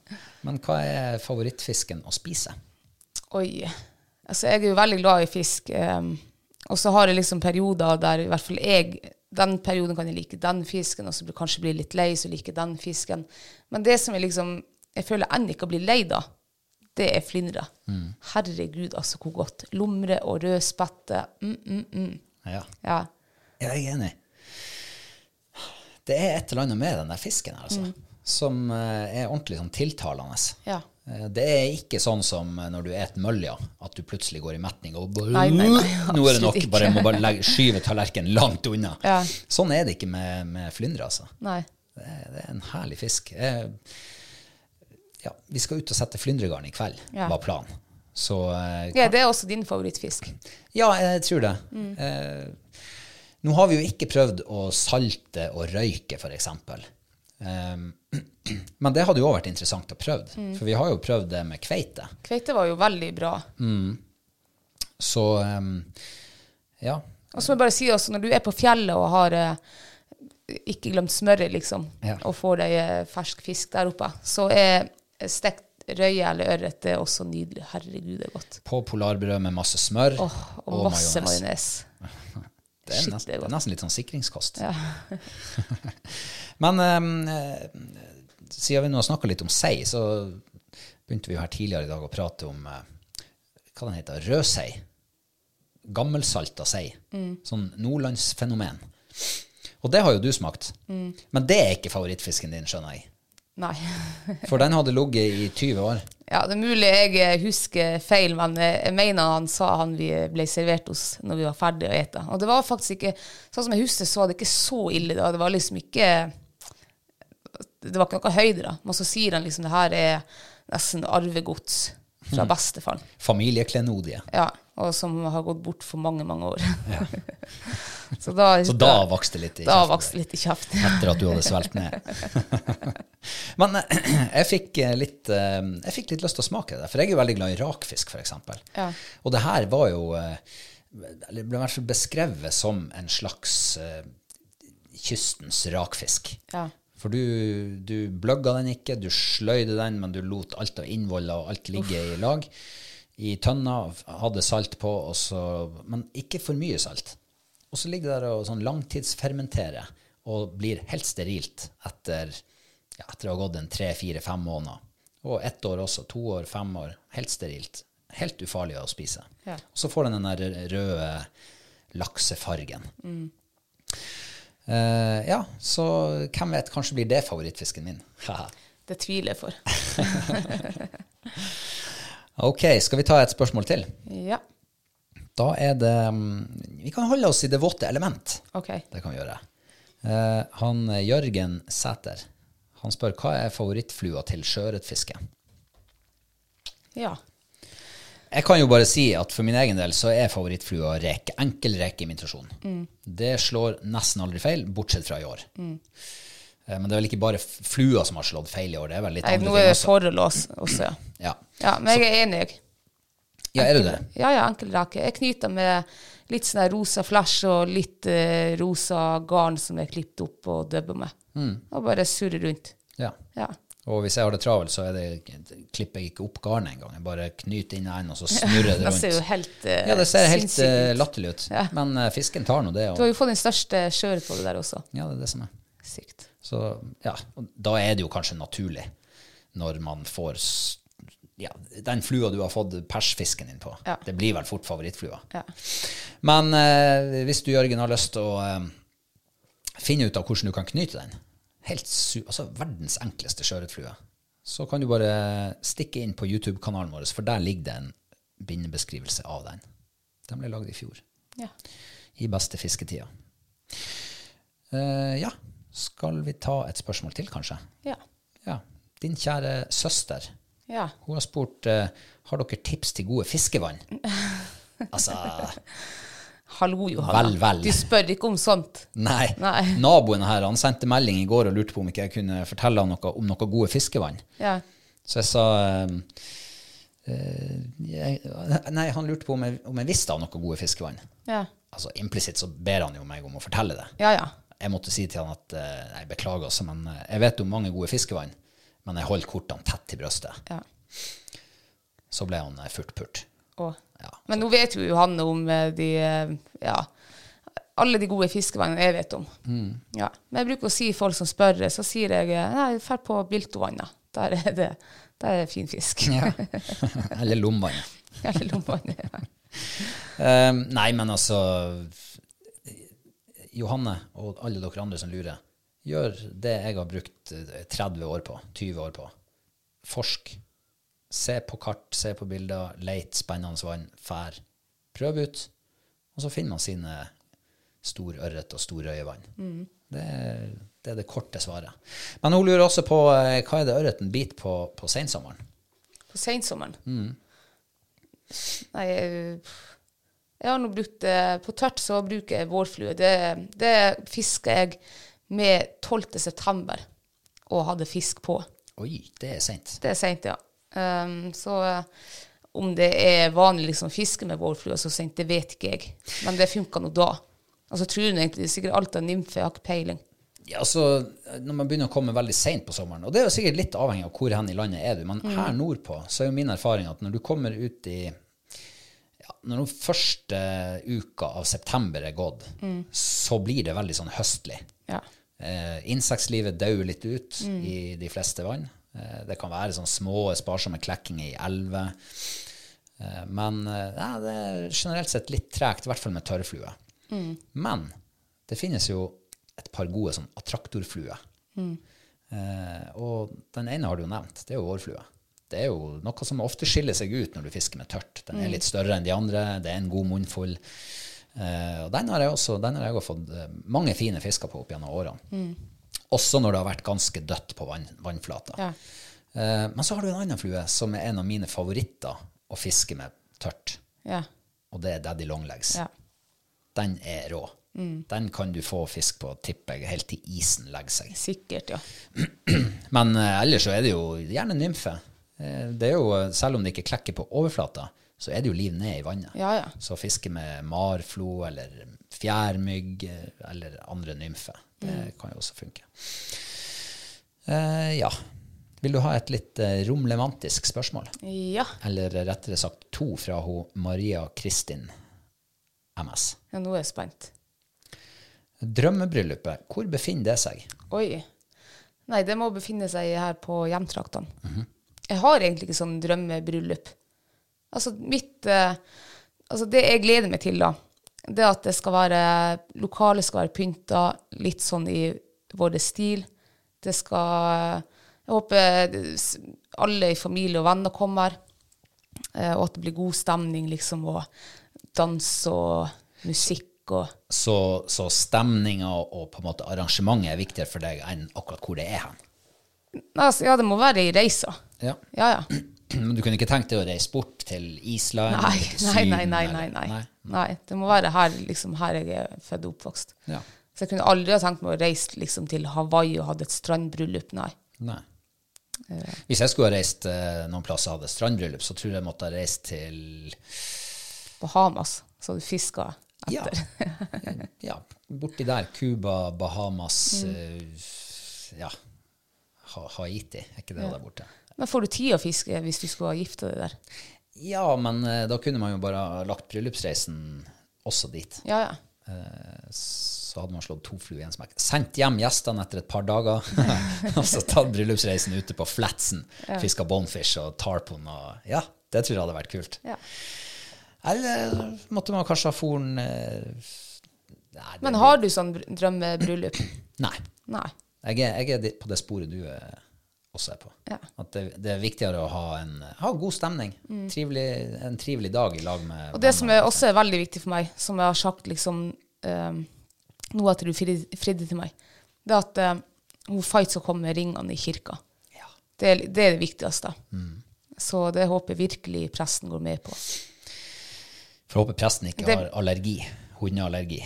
Speaker 1: [LAUGHS] Men hva er favorittfisken å spise?
Speaker 2: Oi. Altså, jeg er jo veldig glad i fisk. ehm, og så har jeg liksom perioder der i hvert fall jeg Den perioden kan jeg like den fisken, og så blir- kanskje bli litt lei, så liker jeg den fisken. Men det som jeg liksom Jeg føler jeg ennå ikke blir lei da, det er flyndre. Herregud, altså, hvor godt. Lomre og rødspette. Mm, mm, mm.
Speaker 1: Ja,
Speaker 2: Ja.
Speaker 1: jeg er enig. Det er et eller annet med den der fisken her, altså, som eh, er ordentlig sånn tiltalende.
Speaker 2: Mm. ja.
Speaker 1: Eh, Det er ikke sånn som eh, når du et mølja, at du plutselig går i metning og bare,
Speaker 2: Nei, nei, nei,
Speaker 1: Nå er det nok,
Speaker 2: absolutt ikke.
Speaker 1: bare må bare legge, skyve tallerkenen langt unna.
Speaker 2: Ja.
Speaker 1: Sånn er det ikke med, med flyndre, altså.
Speaker 2: Nei.
Speaker 1: Det er, det er en herlig fisk. Eh, ja, vi skal ut og sette flyndregarn i kveld,
Speaker 2: Ja.
Speaker 1: var planen. Så eh,
Speaker 2: Ja, Mm. det er også din favorittfisk.
Speaker 1: ja, jeg tror det. Eh, nå har vi jo ikke prøvd å salte og røyke, f.eks. Um, [CLEARS THROAT] men det hadde jo òg vært interessant å prøve.
Speaker 2: Mm.
Speaker 1: For vi har jo prøvd det med kveite.
Speaker 2: Kveite var jo veldig bra.
Speaker 1: Så um, ja.
Speaker 2: Og så må jeg bare si også, når du er på fjellet og har eh, ikke glemt smøret, liksom,
Speaker 1: Ja.
Speaker 2: og får deg eh, fersk fisk der oppe, så er stekt røye eller ørret det er også nydelig. Herregud, det er godt.
Speaker 1: På polarbrød med masse smør
Speaker 2: Åh, og masse majones.
Speaker 1: Det er,
Speaker 2: Shit,
Speaker 1: nesten,
Speaker 2: det er
Speaker 1: det er
Speaker 2: godt.
Speaker 1: nesten litt sånn sikringskost. Men ehm, eh, siden vi nå har snakka litt om sei, så begynte vi jo her tidligere i dag å prate om eh, hva den heter, rødsei. Gammelsalta sei.
Speaker 2: Mm.
Speaker 1: Sånn nordlandsfenomen. Og det har jo du smakt.
Speaker 2: Mm.
Speaker 1: Men det er ikke favorittfisken din, skjønner jeg.
Speaker 2: Nei.
Speaker 1: For den hadde ligget i 20 år.
Speaker 2: Ja, det er mulig jeg eh, husker feil, men eh, jeg mener han sa han vi eh, ble servert hos når vi var ferdige å ete. Og det var faktisk ikke, sånn som jeg husker, så var det ikke så ille da. Det var liksom ikke, det var ikke noe høyde da. Men så sier han liksom, det her er nesten arvegods
Speaker 1: Mhm.
Speaker 2: fra bestefaren. [LAUGHS]
Speaker 1: Familieklenodie.
Speaker 2: Ja, og som har gått bort for mange, mange år. [LAUGHS] så da,
Speaker 1: Så da vokste det litt i
Speaker 2: da
Speaker 1: kjeften.
Speaker 2: vokste litt i kjeften.
Speaker 1: etter at du hadde svelgt ned. [LAUGHS] Men eh, jeg fikk, eh, litt, eh, jeg fikk litt lyst til å smake det, for jeg er jo veldig glad i rakfisk, f.eks.
Speaker 2: Ja.
Speaker 1: Og det her var jo eh, eller ble i hvert fall beskrevet som en slags eh, kystens rakfisk.
Speaker 2: Ja.
Speaker 1: For du, du bløgga den ikke, du sløyde den, men du lot alt av innvoller og alt ligge i lag. I tønna hadde salt på, og så, men ikke for mye salt. Og så ligger det der og sånn langtidsfermenterer og blir helt sterilt etter, ja, etter å ha gått en tre, fire, fem måneder. Og ett år også. To år, fem år. Helt sterilt. Helt ufarlig å spise.
Speaker 2: Ja.
Speaker 1: Og så får den den der røde laksefargen. Eh, ja, så hvem vet, kanskje blir det favorittfisken min. Haha.
Speaker 2: [LAUGHS] Det tviler jeg for.
Speaker 1: ok, skal vi ta et spørsmål til?
Speaker 2: Ja,
Speaker 1: Da er det mm, Vi kan holde oss i det våte element.
Speaker 2: OK.
Speaker 1: Det kan vi gjøre. Eh, han eh, Jørgen Sæter han spør hva er favorittflua til sjøørretfiske.
Speaker 2: Ja.
Speaker 1: Jeg kan jo bare si at for min egen del så er favorittflua reke. Enkel rekeimitasjon.
Speaker 2: Mm.
Speaker 1: Det slår nesten aldri feil, bortsett fra i år. Eh, men det er vel ikke bare f- flua som har slått feil i år, det er vel litt
Speaker 2: Nei,
Speaker 1: andre
Speaker 2: nå
Speaker 1: ting
Speaker 2: er det
Speaker 1: også.
Speaker 2: forhold også, også, ja.
Speaker 1: Ja.
Speaker 2: Ja, men jeg er enig. jeg.
Speaker 1: ja, er det det?
Speaker 2: Ja, ja, enkelrake. Jeg knyter med litt sånn her rosa flash og litt eh, rosa garn som jeg klippet opp og dubber med.
Speaker 1: Mm.
Speaker 2: Og bare surrer rundt.
Speaker 1: Ja.
Speaker 2: Ja.
Speaker 1: Og hvis jeg har det travelt, så er det, klipper jeg ikke opp garnet engang. Jeg bare knyter inn enden, og så snurrer
Speaker 2: [LAUGHS]
Speaker 1: jeg det
Speaker 2: Det
Speaker 1: rundt.
Speaker 2: ser jo helt eh,
Speaker 1: Ja, det ser helt
Speaker 2: sinnssykt
Speaker 1: eh,
Speaker 2: ut.
Speaker 1: latterlig ut.
Speaker 2: Ja.
Speaker 1: Men eh, fisken tar nå det.
Speaker 2: Du har
Speaker 1: Og,
Speaker 2: jo fått den største skjøret på det der også.
Speaker 1: ja, det er det som er.
Speaker 2: Sykt.
Speaker 1: Så ja, og da er det jo kanskje naturlig når man får s- ja, den flua du har fått persfisken din på.
Speaker 2: Ja.
Speaker 1: Det blir vel fort favorittflua.
Speaker 2: Ja.
Speaker 1: Men eh, hvis du, Jørgen, har lyst til å eh, finne ut av hvordan du kan knyte den, helt su altså verdens enkleste sjøørretflue, så kan du bare stikke inn på YouTube-kanalen vår, for der ligger det en bindebeskrivelse av den. Den ble lagd i fjor.
Speaker 2: Ja.
Speaker 1: I beste fisketida. Eh, ja, skal vi ta et spørsmål til, kanskje?
Speaker 2: Ja.
Speaker 1: Ja. Din kjære søster,
Speaker 2: ja.
Speaker 1: hun har spurt eh, har dere tips til gode fiskevann. Altså,
Speaker 2: Hallo, Johanna.
Speaker 1: Vel, vel.
Speaker 2: Du spør ikke om sånt.
Speaker 1: nei.
Speaker 2: Nei.
Speaker 1: Naboen her han sendte melding i går og lurte på om ikke jeg kunne fortelle han noe om noe gode fiskevann.
Speaker 2: Ja.
Speaker 1: Så jeg sa eh, eh, jeg, Nei, han lurte på om jeg, om jeg visste av noe gode fiskevann.
Speaker 2: Ja.
Speaker 1: Altså, Implisitt så ber han jo meg om å fortelle det.
Speaker 2: Ja, ja.
Speaker 1: jeg måtte si til han at eh, nei, beklager også, men eh, jeg vet om mange gode fiskevann, men jeg holder kortene tett til brøstet.
Speaker 2: ja.
Speaker 1: Så ble han eh, furtpurt.
Speaker 2: Og.
Speaker 1: Ja.
Speaker 2: Men nå vet jo Johanne om eh, de eh, Ja. Alle de gode fiskevannene jeg vet om.
Speaker 1: Mm.
Speaker 2: Ja. Men jeg bruker å si folk som spør, så sier jeg eh, nei, drar på Biltovannet. Der er det der er det fin fisk. [LAUGHS]
Speaker 1: Ja. [LAUGHS] Eller lommene.
Speaker 2: Eller Lomvannet. Ja.
Speaker 1: Eh, nei, men altså Johanne og alle dere andre som lurer, gjør det jeg har brukt eh, 30 år på, 20 år på. Forsk. Se på kart, se på bilder, leit spennende vann, fær. Prøv ut. Og så finner man sine stor ørret og stor røyevann. Det, er- det er det korte svaret. Men hun lurer også på eh, hva er det ørreten biter på på sensommeren?
Speaker 2: På sensommeren.
Speaker 1: Mm.
Speaker 2: Nei eh, Jeg har nå brukt eh, På tørt så bruker jeg vårflue. Det, det fisker jeg med 12. september og hadde fisk på.
Speaker 1: Oi, det er seint.
Speaker 2: Det er seint, ja. Ehm, så eh, om det er vanlig liksom, fiske med vårflue så sent, det vet ikke jeg. Men det funka nå da. Og så tror hun egentlig sikkert alt av nymfe, jeg har ikke peiling.
Speaker 1: Ja, altså, når man begynner å komme veldig seint på sommeren, og det er jo sikkert litt avhengig av hvor hen i landet er du, men her nordpå så er jo min erfaring at når du kommer ut i ja, Når den første uka av september er gått, så blir det veldig sånn høstlig.
Speaker 2: Ja.
Speaker 1: Eh, Insektlivet dauer litt ut i de fleste vann. Eh, det kan være sånn små, sparsomme klekkinger i elver. Eh, men eh, ja, det er generelt sett litt tregt, i hvert fall med tørrflue. Men det finnes jo et par gode sånn attraktorfluer. Eh, og den ene har du jo nevnt, det er jo vårflue. Det er jo noe som ofte skiller seg ut når du fisker med tørt. Den er litt større enn de andre, det er en god munnfull. Eh, og den har jeg også den har jeg også fått eh, mange fine fisker på opp gjennom årene. Også når det har vært ganske dødt på vann, vannflata.
Speaker 2: Ja.
Speaker 1: Eh, men så har du en annen flue som er en av mine favoritter å fiske med tørt,
Speaker 2: Ja.
Speaker 1: og det er Daddy Longlegs
Speaker 2: ja. Mm.
Speaker 1: den er rå. Den kan du få fisk på, tipper jeg, helt til isen legger seg.
Speaker 2: Sikkert, ja.
Speaker 1: Men eh, ellers så er det jo gjerne nymfe. Eh, det er jo, eh, selv om det ikke klekker på overflata, så er det jo liv ned i vannet.
Speaker 2: Ja, ja.
Speaker 1: Så fiske med marflo eller fjærmygg eh, eller andre nymfer, det
Speaker 2: Mm.
Speaker 1: kan jo også funke. Eh, ja. Vil du ha et litt eh, romlemantisk spørsmål?
Speaker 2: Ja.
Speaker 1: Eller rettere sagt to fra hun Maria Kristin MS.
Speaker 2: ja nå er jeg spent.
Speaker 1: Drømmebryllupet, hvor befinner det seg?
Speaker 2: Oi. Nei, det må befinne seg her på hjemtraktene. Jeg har egentlig ikke sånn drømmebryllup. Altså mitt eh, Altså det jeg gleder meg til, da, det er at det skal være Lokalet skal være pynta litt sånn i vår stil. Det skal Jeg håper det- s- alle i familie og venner kommer, eh, og at det blir god stemning, liksom, og dans og musikk og
Speaker 1: Så, så stemninga og på en måte arrangementet er viktigere for deg enn akkurat hvor det er hen.
Speaker 2: Nei, altså, Ja, det må være i reisa.
Speaker 1: Ja.
Speaker 2: Ja, ja.
Speaker 1: Men du kunne ikke tenkt deg å reise bort til Island?
Speaker 2: Nei,
Speaker 1: eller til
Speaker 2: nei, nei,
Speaker 1: Syden,
Speaker 2: nei, nei,
Speaker 1: eller-
Speaker 2: nei. nei. Det må være her, liksom, her jeg er født og oppvokst.
Speaker 1: Ja.
Speaker 2: Så jeg kunne aldri ha tenkt meg å reise liksom, til Hawaii og hatt et strandbryllup, nei.
Speaker 1: Nei. Hvis jeg skulle ha reist eh, noen plasser og hadde strandbryllup, så tror jeg jeg måtte ha reist til
Speaker 2: Bahamas, så du fisker
Speaker 1: ja,
Speaker 2: etter.
Speaker 1: [LAUGHS] ja, borti der. Cuba, Bahamas
Speaker 2: Mm.
Speaker 1: eh, Ja. Ha Haiti, er ikke det der borte?
Speaker 2: Men får du tid å fiske hvis du skulle ha gifta deg der?
Speaker 1: Ja, men eh, da kunne man jo bare ha lagt bryllupsreisen også dit.
Speaker 2: Ja, ja.
Speaker 1: Eh, Så hadde man slått to fluer i en smekk. Sendt hjem gjestene etter et par dager, [LAUGHS] og så tatt bryllupsreisen ute på Flatsen. Fiska bonfish og tarpon og Ja, det tror jeg hadde vært kult.
Speaker 2: Ja.
Speaker 1: Eller måtte man kanskje ha foren eh, Nei. det-
Speaker 2: Men har du sånn br- drømmebryllup?
Speaker 1: nei.
Speaker 2: Nei.
Speaker 1: Jeg, er, jeg er di- på det sporet du eh, også er på.
Speaker 2: Ja.
Speaker 1: At det, det er viktigere å ha en ha god stemning. Trivelig, en trivelig dag i lag med
Speaker 2: Mm. Og det som er også er veldig viktig for meg, som jeg har sagt liksom um, nå etter du frid- fridde til meg, det er at eh, hun Fight skal komme med ringene i kirka.
Speaker 1: Ja.
Speaker 2: Det, er- det er det viktigste.
Speaker 1: Mm.
Speaker 2: Så det håper jeg virkelig presten går med på.
Speaker 1: Får håpe presten ikke
Speaker 2: Det-
Speaker 1: har allergi. Hundeallergi.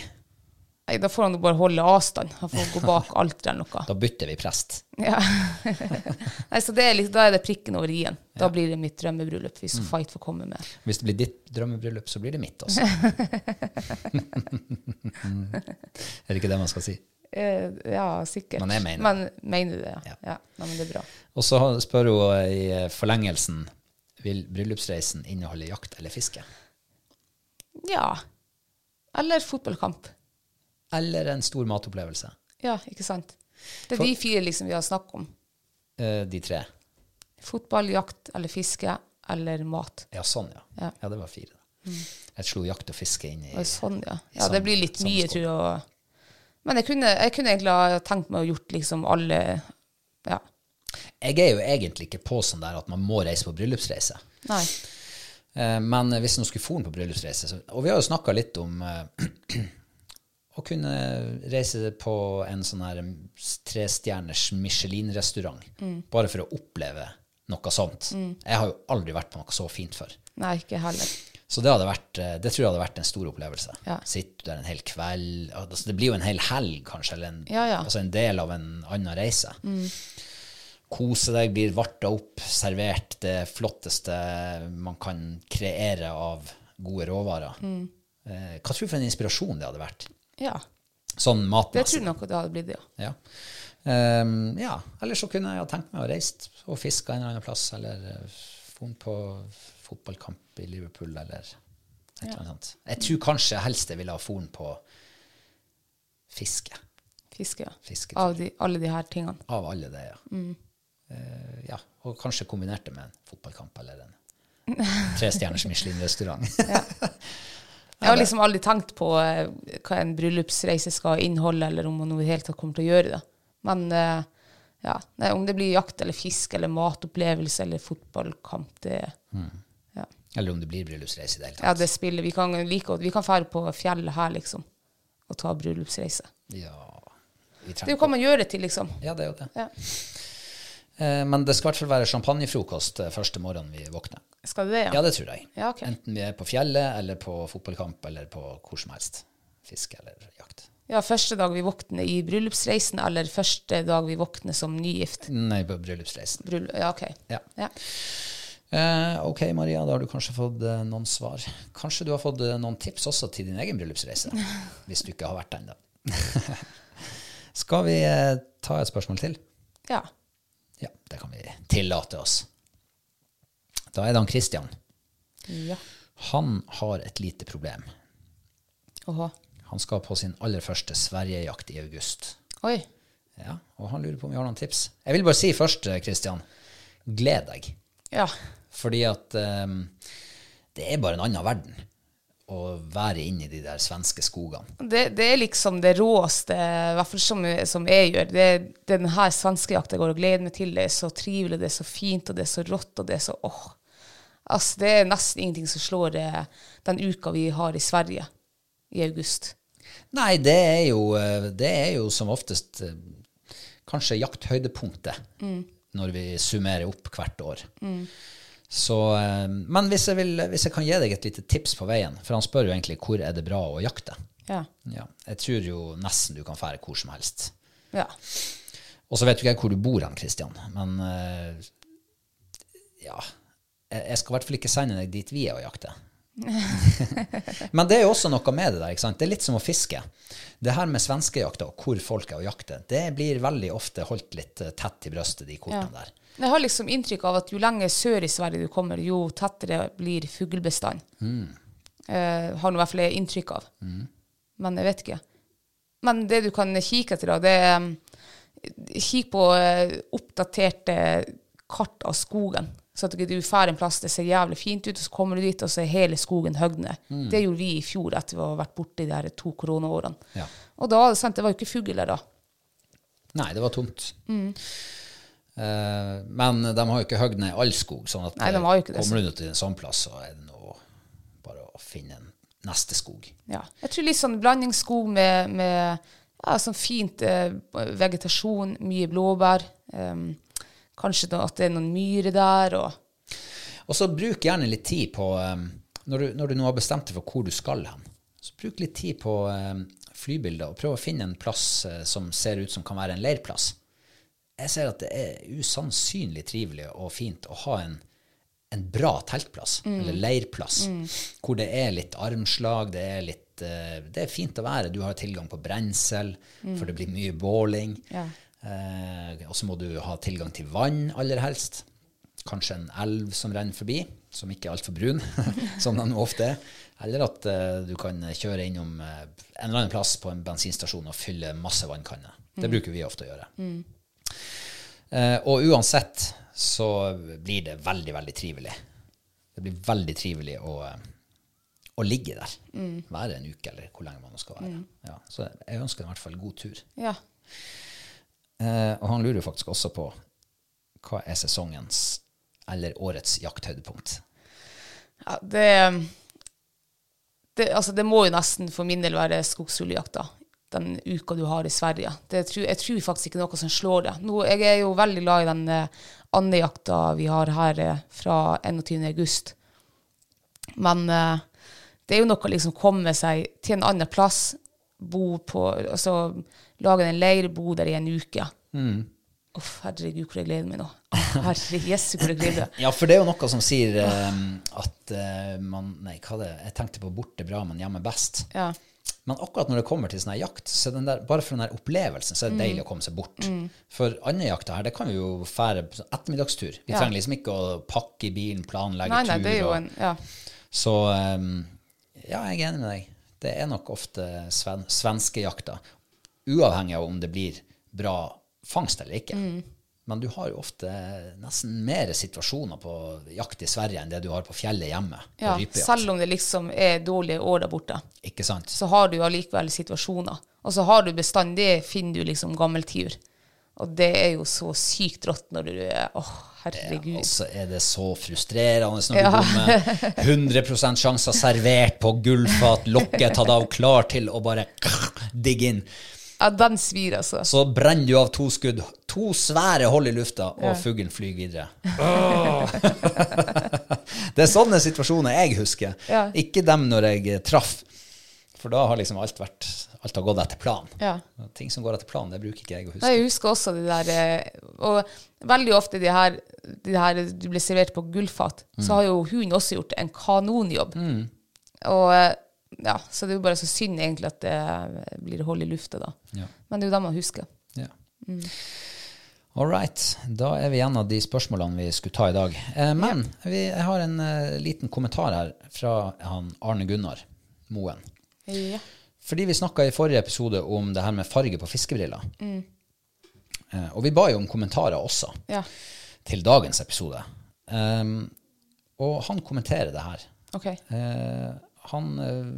Speaker 2: Nei, da får han jo bare holde avstand. Han får gå
Speaker 1: [LAUGHS]
Speaker 2: bak alteret eller noe.
Speaker 1: Da bytter vi prest.
Speaker 2: Ja. [LAUGHS] Nei, så det er liksom, da er det prikken over i-en. Da blir det mitt drømmebryllup, hvis
Speaker 1: Mm.
Speaker 2: Fight får komme med.
Speaker 1: Hvis det blir ditt drømmebryllup, så blir det mitt
Speaker 2: [LAUGHS]
Speaker 1: også. er det ikke det man skal si?
Speaker 2: Eh, ja, sikkert.
Speaker 1: Men jeg mener det.
Speaker 2: Men mener du det, ja.
Speaker 1: Ja.
Speaker 2: ja. Nei, men det er bra.
Speaker 1: Og så spør hun i forlengelsen vil bryllupsreisen inneholde jakt eller fiske.
Speaker 2: Ja. Eller fotballkamp.
Speaker 1: Eller en stor matopplevelse.
Speaker 2: Ja, ikke sant? Det er
Speaker 1: For-
Speaker 2: de fire liksom vi har snakk om.
Speaker 1: Eh, De tre.
Speaker 2: Fotball, jakt eller fiske eller mat.
Speaker 1: Ja, sånn, ja. Ja,
Speaker 2: Ja.
Speaker 1: det var fire. da. Jeg slo jakt og fiske inn i
Speaker 2: Og sånn, ja.
Speaker 1: i
Speaker 2: Ja,
Speaker 1: samme-
Speaker 2: det blir litt
Speaker 1: samme
Speaker 2: mye,
Speaker 1: skål.
Speaker 2: tror jeg. å- Men jeg kunne, jeg kunne egentlig ha tenkt meg å gjort liksom alle Ja.
Speaker 1: Jeg er jo egentlig ikke på sånn der at man må reise på bryllupsreise.
Speaker 2: Nei.
Speaker 1: Eh, Men hvis nå skulle foren på bryllupsreise så, Og vi har jo snakka litt om eh, [CLEARS THROAT] å kunne reise på en sånn her trestjerners Michelin-restaurant. Bare for å oppleve noe sånt. Jeg har jo aldri vært på noe så fint før.
Speaker 2: Nei, ikke heller.
Speaker 1: Så det, hadde vært, eh, det tror jeg hadde vært en stor opplevelse.
Speaker 2: Ja.
Speaker 1: Sitte der en hel kveld. Altså det blir jo en hel helg, kanskje, eller en,
Speaker 2: Ja, Mm. ja.
Speaker 1: Altså en del av en annen reise. Kose deg, blir varta opp, servert det flotteste man kan kreere av gode råvarer.
Speaker 2: Mm.
Speaker 1: Eh, hva tror du for en inspirasjon det hadde vært?
Speaker 2: Ja.
Speaker 1: Sånn
Speaker 2: Det
Speaker 1: matmessig.
Speaker 2: tror jeg nok det hadde blitt, ja.
Speaker 1: Ja. Ehm, ja. Eller så kunne jeg ha tenkt meg å reist og fiska en eller annen plass, eller funnet på fotballkamp i Liverpool, eller et eller annet sånt. Jeg tror kanskje jeg helst jeg ville ha funnet på fiske.
Speaker 2: Fiske, ja.
Speaker 1: Fisketur.
Speaker 2: Av Mm. de, alle de her tingene.
Speaker 1: Av alle det, ja. Eh, ja. Og kanskje kombinert det med en fotballkamp eller
Speaker 2: [LAUGHS]
Speaker 1: en trestjerners Michelin-restaurant.
Speaker 2: Jeg har liksom aldri tenkt på eh, hva en bryllupsreise skal inneholde, eller om man i det hele tatt kommer til å gjøre det. Men eh, ja, nei, om det blir jakt eller fisk eller matopplevelse eller fotballkamp, det
Speaker 1: Mm.
Speaker 2: ja.
Speaker 1: eller om det blir bryllupsreise i det hele tatt.
Speaker 2: ja, det spiller Vi kan like godt Vi kan dra på fjellet her, liksom, og ta bryllupsreise.
Speaker 1: Ja. Vi
Speaker 2: Det er
Speaker 1: trenger
Speaker 2: jo hva man gjør det til, liksom.
Speaker 1: Ja, det er jo det.
Speaker 2: Ja.
Speaker 1: Eh, men det skal i hvert fall være champagnefrokost eh, første morgenen vi våkner.
Speaker 2: Skal det det,
Speaker 1: Ja, det tror jeg.
Speaker 2: Ja, ok.
Speaker 1: Enten vi er på fjellet, eller på fotballkamp, eller på hvor som helst. Fiske eller jakt.
Speaker 2: Ja, første dag vi våkner i bryllupsreisen, eller første dag vi våkner som nygift.
Speaker 1: Nei, på bryllupsreisen.
Speaker 2: Bryllup, ja, ok.
Speaker 1: Ja.
Speaker 2: Ja.
Speaker 1: Eh, ok, Maria, da har du kanskje fått eh, noen svar. [LAUGHS] Kanskje du har fått eh, noen tips også til din egen bryllupsreise, hvis du ikke har vært der ennå. [LAUGHS] Skal vi eh, ta et spørsmål til?
Speaker 2: ja.
Speaker 1: Ja, det kan vi tillate oss. Da er det han Christian.
Speaker 2: ja.
Speaker 1: Han har et lite problem.
Speaker 2: Åhå.
Speaker 1: Han skal på sin aller første Sverigejakt i august.
Speaker 2: Oi.
Speaker 1: Ja, og han lurer på om vi har noen tips. Jeg vil bare si først, Kristian, eh, gled deg.
Speaker 2: Ja.
Speaker 1: Fordi at ehm, det er bare en annen verden å være inne i de der svenske skogene.
Speaker 2: Det, det er liksom det råeste, i hvert fall som, som jeg gjør. Det er den her svenskejakta jeg går og gleder meg til. Det er så trivelig, det er så fint, og det er så rått, og det er så åh. Altså, det er nesten ingenting som slår eh, den uka vi har i Sverige i august.
Speaker 1: Nei, det er jo, eh, det er jo som oftest eh, kanskje jakthøydepunktet når vi summerer opp hvert år. Så, eh, men hvis jeg, vil, hvis jeg kan gi deg et lite tips på veien, for han spør jo egentlig hvor er det bra å jakte.
Speaker 2: Ja.
Speaker 1: Ja, jeg tror jo nesten du kan fære hvor som helst.
Speaker 2: Ja.
Speaker 1: Og så vet jo ikke jeg hvor du bor hen, Kristian, men eh, ja Jeg jeg skal i hvert fall ikke sende deg dit vi er og
Speaker 2: [LAUGHS]
Speaker 1: jakter. men det er jo også noe med det der. ikke sant? Det er litt som å fiske. Det her med svenskejakta og hvor folk er og jakter, det blir veldig ofte holdt litt eh, tett til brøstet, de kortene der.
Speaker 2: Jeg har liksom inntrykk av at jo lenger sør i Sverige du kommer, jo tettere blir fuglebestanden.
Speaker 1: Mm.
Speaker 2: Eh, har nå i hvert fall jeg inntrykk av. Men jeg vet ikke. Men det du kan kikke etter, da, det er um, Kikk på eh, oppdaterte kart av skogen. Så at ikke du drar en plass det ser jævlig fint ut, og så kommer du dit, og så er hele skogen høgd ned.
Speaker 1: Mm.
Speaker 2: Det gjorde vi i fjor etter å ha vært borte i de her to koronaårene.
Speaker 1: Ja.
Speaker 2: Og da sant, det var jo ikke fugl der da.
Speaker 1: Nei, det var tomt.
Speaker 2: Mm.
Speaker 1: Eh, men de har jo ikke høgd ned all skog, sånn at
Speaker 2: Nei, de har jo ikke det,
Speaker 1: kommer du til en sånn plass, så er det nå bare å finne en neste skog.
Speaker 2: Ja. Jeg tror litt sånn blandingsskog med, med ja, sånn fint eh, vegetasjon, mye blåbær. em, kanskje da, at det er noen myrer der. Og
Speaker 1: Og så bruk gjerne litt tid på um, når, du, når du nå har bestemt deg for hvor du skal hen, så bruk litt tid på um, flybilder og prøv å finne en plass eh, som ser ut som kan være en leirplass. Jeg ser at det er usannsynlig trivelig og fint å ha en, en bra teltplass, eller leirplass, hvor det er litt armslag, det er litt eh, det er fint å være. Du har tilgang på brensel, for det blir mye båling. Eh, og så må du ha tilgang til vann, aller helst. Kanskje en elv som renner forbi, som ikke er altfor brun, [LAUGHS] som de ofte er. Eller at eh, du kan kjøre innom eh, en eller annen plass på en bensinstasjon og fylle masse vannkanner. Det bruker vi ofte å gjøre. Eh, og uansett så blir det veldig, veldig trivelig. Det blir veldig trivelig å, eh, å ligge der. Være en uke, eller hvor lenge man nå skal være. Ja, så jeg ønsker dem i hvert fall god tur.
Speaker 2: ja.
Speaker 1: Eh, og han lurer jo faktisk også på hva er sesongens eller årets jakthøydepunkt.
Speaker 2: Ja, det, det Altså, det må jo nesten for min del være skogsfugljakta. Den uka du har i Sverige. Det tror, jeg tror faktisk ikke noe som slår det. Nå, jeg er jo veldig glad i den eh, andejakta vi har her eh, fra 21. august. Men eh, det er jo noe å liksom komme seg til en annen plass, bo på Altså lage en leir, bo der i en uke. Uff, herregud, hvor jeg gleder meg nå. Herre jesu, hvor jeg gleder meg.
Speaker 1: Ja, for det er jo noe som sier eh, at eh, man Nei, hva det Jeg tenkte på borte bra, men hjemme best.
Speaker 2: Ja.
Speaker 1: Men akkurat når det kommer til sånn her jakt, så er den der, bare for den der opplevelsen, så er det
Speaker 2: Mm.
Speaker 1: deilig å komme seg bort. For andejakta her, det kan vi jo fære på sånn ettermiddagstur. Vi
Speaker 2: Ja.
Speaker 1: trenger liksom ikke å pakke i bilen, planlegge
Speaker 2: Nei, nei,
Speaker 1: tur.
Speaker 2: det er jo
Speaker 1: og-
Speaker 2: en Ja.
Speaker 1: Så um, ja, jeg er enig med deg. Det er nok ofte sven svenske jakter. Uavhengig av om det blir bra fangst eller ikke.
Speaker 2: Mm.
Speaker 1: Men du har jo ofte nesten mer situasjoner på jakt i Sverige enn det du har på fjellet hjemme. på
Speaker 2: Ja,
Speaker 1: rypejakt.
Speaker 2: selv om det liksom er dårlige år der borte,
Speaker 1: Ikke sant?
Speaker 2: så har du jo allikevel situasjoner. Og så har du bestandig, finner du liksom gammel tiur. Og det er jo så sykt rått når du er Åh, herregud.
Speaker 1: Og så er det så frustrerende når
Speaker 2: Ja.
Speaker 1: du kommer med 100 sjanser servert på gullfat, lokket tatt av, klar til å bare digge inn.
Speaker 2: Ja, den svir, altså.
Speaker 1: Så brenner du av to skudd, to svære hold i lufta, og fuglen flyr videre. [LAUGHS] det er sånne situasjoner jeg husker,
Speaker 2: Ja.
Speaker 1: ikke dem når jeg eh, traff. For da har liksom alt, vært, alt har gått etter planen.
Speaker 2: Ja.
Speaker 1: Og Ting som går etter planen, det bruker ikke jeg å huske.
Speaker 2: Nei, jeg husker også det der eh, Og veldig ofte de her, de her du blir servert på gullfat, så har jo hun også gjort en kanonjobb. Og eh, ja, Så det er jo bare så synd egentlig at det blir hold i lufta da.
Speaker 1: Ja.
Speaker 2: Men det er jo det man husker.
Speaker 1: Ja. All right. Da er vi gjennom de spørsmålene vi skulle ta i dag. Eh, men vi, jeg har en eh, liten kommentar her fra han Arne Gunnar Moen. Fordi vi snakka i forrige episode om det her med farge på fiskebriller. Eh, og vi ba jo om kommentarer også
Speaker 2: Ja.
Speaker 1: til dagens episode. Ehm, og han kommenterer det her.
Speaker 2: OK.
Speaker 1: Eh, han eh,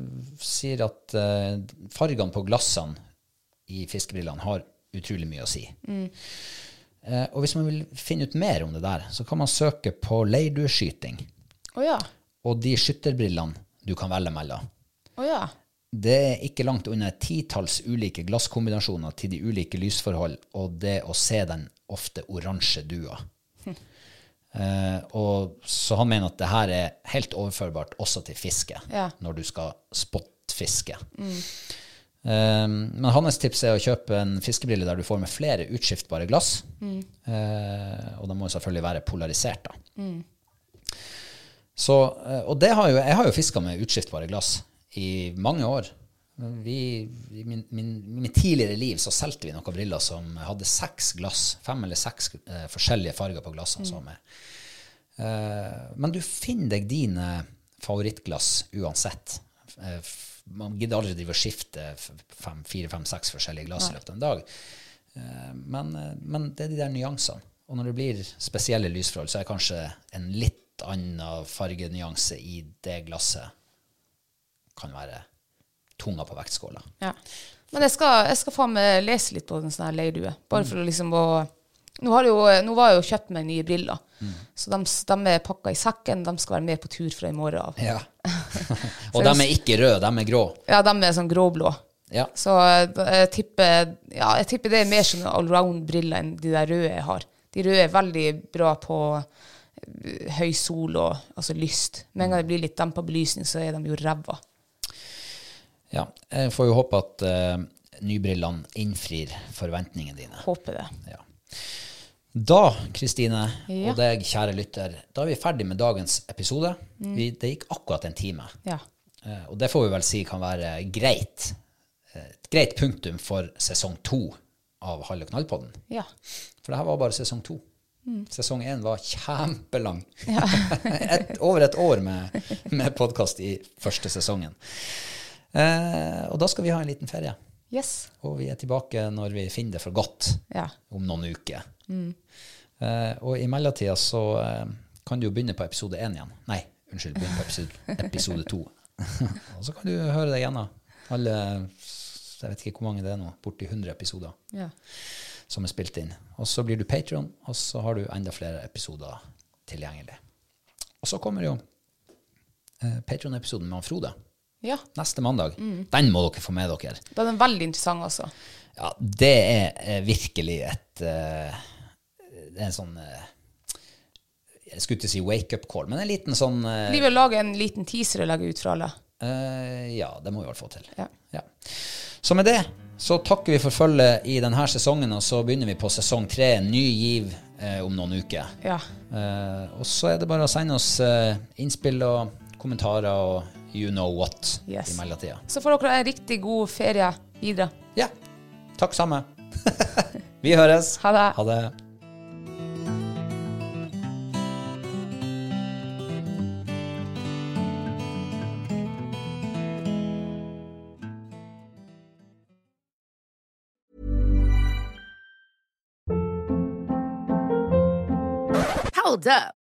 Speaker 1: sier at eh, fargene på glassene i fiskebrillene har utrolig mye å si. Eh, og hvis man vil finne ut mer om det der, så kan man søke på leirdueskyting
Speaker 2: Å ja.
Speaker 1: og de skytterbrillene du kan velge mellom.
Speaker 2: Å ja.
Speaker 1: Det er ikke langt unna et titalls ulike glasskombinasjoner til de ulike lysforhold og det å se den ofte oransje dua. Eh, og så han mener at det her er helt overførbart også til fiske,
Speaker 2: Ja.
Speaker 1: når du skal spottfiske. Eh, men hans tips er å kjøpe en fiskebrille der du får med flere utskiftbare glass. Eh, og de må jo selvfølgelig være polarisert, da. Så, eh, og det har jo, jeg har jo fiska med utskiftbare glass i mange år. Vi, I min, min, mitt tidligere liv så solgte vi noen briller som hadde seks glass, fem eller seks eh, forskjellige farger på glassene som var med. Eh, men du finner deg dine favorittglass uansett. Eh, f- man gidder aldri drive og skifte f- fem, fire, fem, seks forskjellige glass i løpet av en dag. Eh, men, eh, men det er de der nyansene. Og når det blir spesielle lysforhold, så er kanskje en litt annen fargenyanse i det glasset kan være tunga på vektskåla.
Speaker 2: ja. Men jeg skal, jeg skal faen meg lese litt på den sånne her leirdue.
Speaker 1: Mm.
Speaker 2: Bare for å liksom å Nå, har jo, nå var jeg jo kjøpt meg nye briller,
Speaker 1: Mm.
Speaker 2: så de, de er pakka i sekken. De skal være med på tur fra i morgen av.
Speaker 1: Ja. [LAUGHS] og de er ikke røde, de er grå.
Speaker 2: Ja, de er sånn gråblå.
Speaker 1: Ja.
Speaker 2: Så eh, da- jeg tipper, ja, jeg tipper det er mer sånn allround-briller enn de der røde jeg har. De røde er veldig bra på eh, høy sol og altså lyst. Med en gang det blir litt dempa belysning, så er de jo ræva.
Speaker 1: ja. Jeg får jo håpe at eh, nybrillene innfrir forventningene dine.
Speaker 2: Håper det.
Speaker 1: Ja. Da, Kristine
Speaker 2: Ja.
Speaker 1: og deg, kjære lytter, da er vi ferdig med dagens episode. Vi, det gikk akkurat en time.
Speaker 2: Ja.
Speaker 1: Eh, Og det får vi vel si kan være greit. eh, Et greit punktum for sesong to av Hall og knallpodden.
Speaker 2: ja.
Speaker 1: For det her var bare sesong to. Sesong én var kjempelang. [LAUGHS] et, over et år med, med podkast i første sesongen. Eh, og da skal vi ha en liten ferie.
Speaker 2: Yes.
Speaker 1: Og vi er tilbake når vi finner det for godt
Speaker 2: Ja.
Speaker 1: om noen uker. Eh, og i mellomtida så eh, kan du jo begynne på episode én igjen. Nei, unnskyld, begynne på episode, episode to. [LAUGHS] og så kan du høre deg gjennom alle Jeg vet ikke hvor mange det er nå. Borti 100 episoder
Speaker 2: ja.
Speaker 1: som er spilt inn. Og så blir du Patreon, og så har du enda flere episoder tilgjengelig. Og så kommer jo eh, Patreon-episoden med han Frode
Speaker 2: Ja.
Speaker 1: neste mandag. Den må dere få med dere.
Speaker 2: Da er den veldig interessant, altså.
Speaker 1: Ja, det er eh, virkelig et eh, Det er en sånn eh, Jeg skulle ikke si wake-up call, men en liten sånn eh,
Speaker 2: Blir vel å lage en liten teaser og legge ut for alle.
Speaker 1: eh, Ja, det må vi vel få til.
Speaker 2: Ja.
Speaker 1: Ja. Så med det så takker vi for følget i denne sesongen, og så begynner vi på sesong tre, ny giv, eh, om noen uker.
Speaker 2: Ja.
Speaker 1: Eh, og så er det bare å sende oss eh, innspill og kommentarer og you know what
Speaker 2: Yes.
Speaker 1: i mellomtida.
Speaker 2: Så får dere en riktig god ferie videre.
Speaker 1: Ja. Takk samme. [LAUGHS] Vi høres.
Speaker 2: Ha det.
Speaker 1: Ha det.
Speaker 3: Hold up.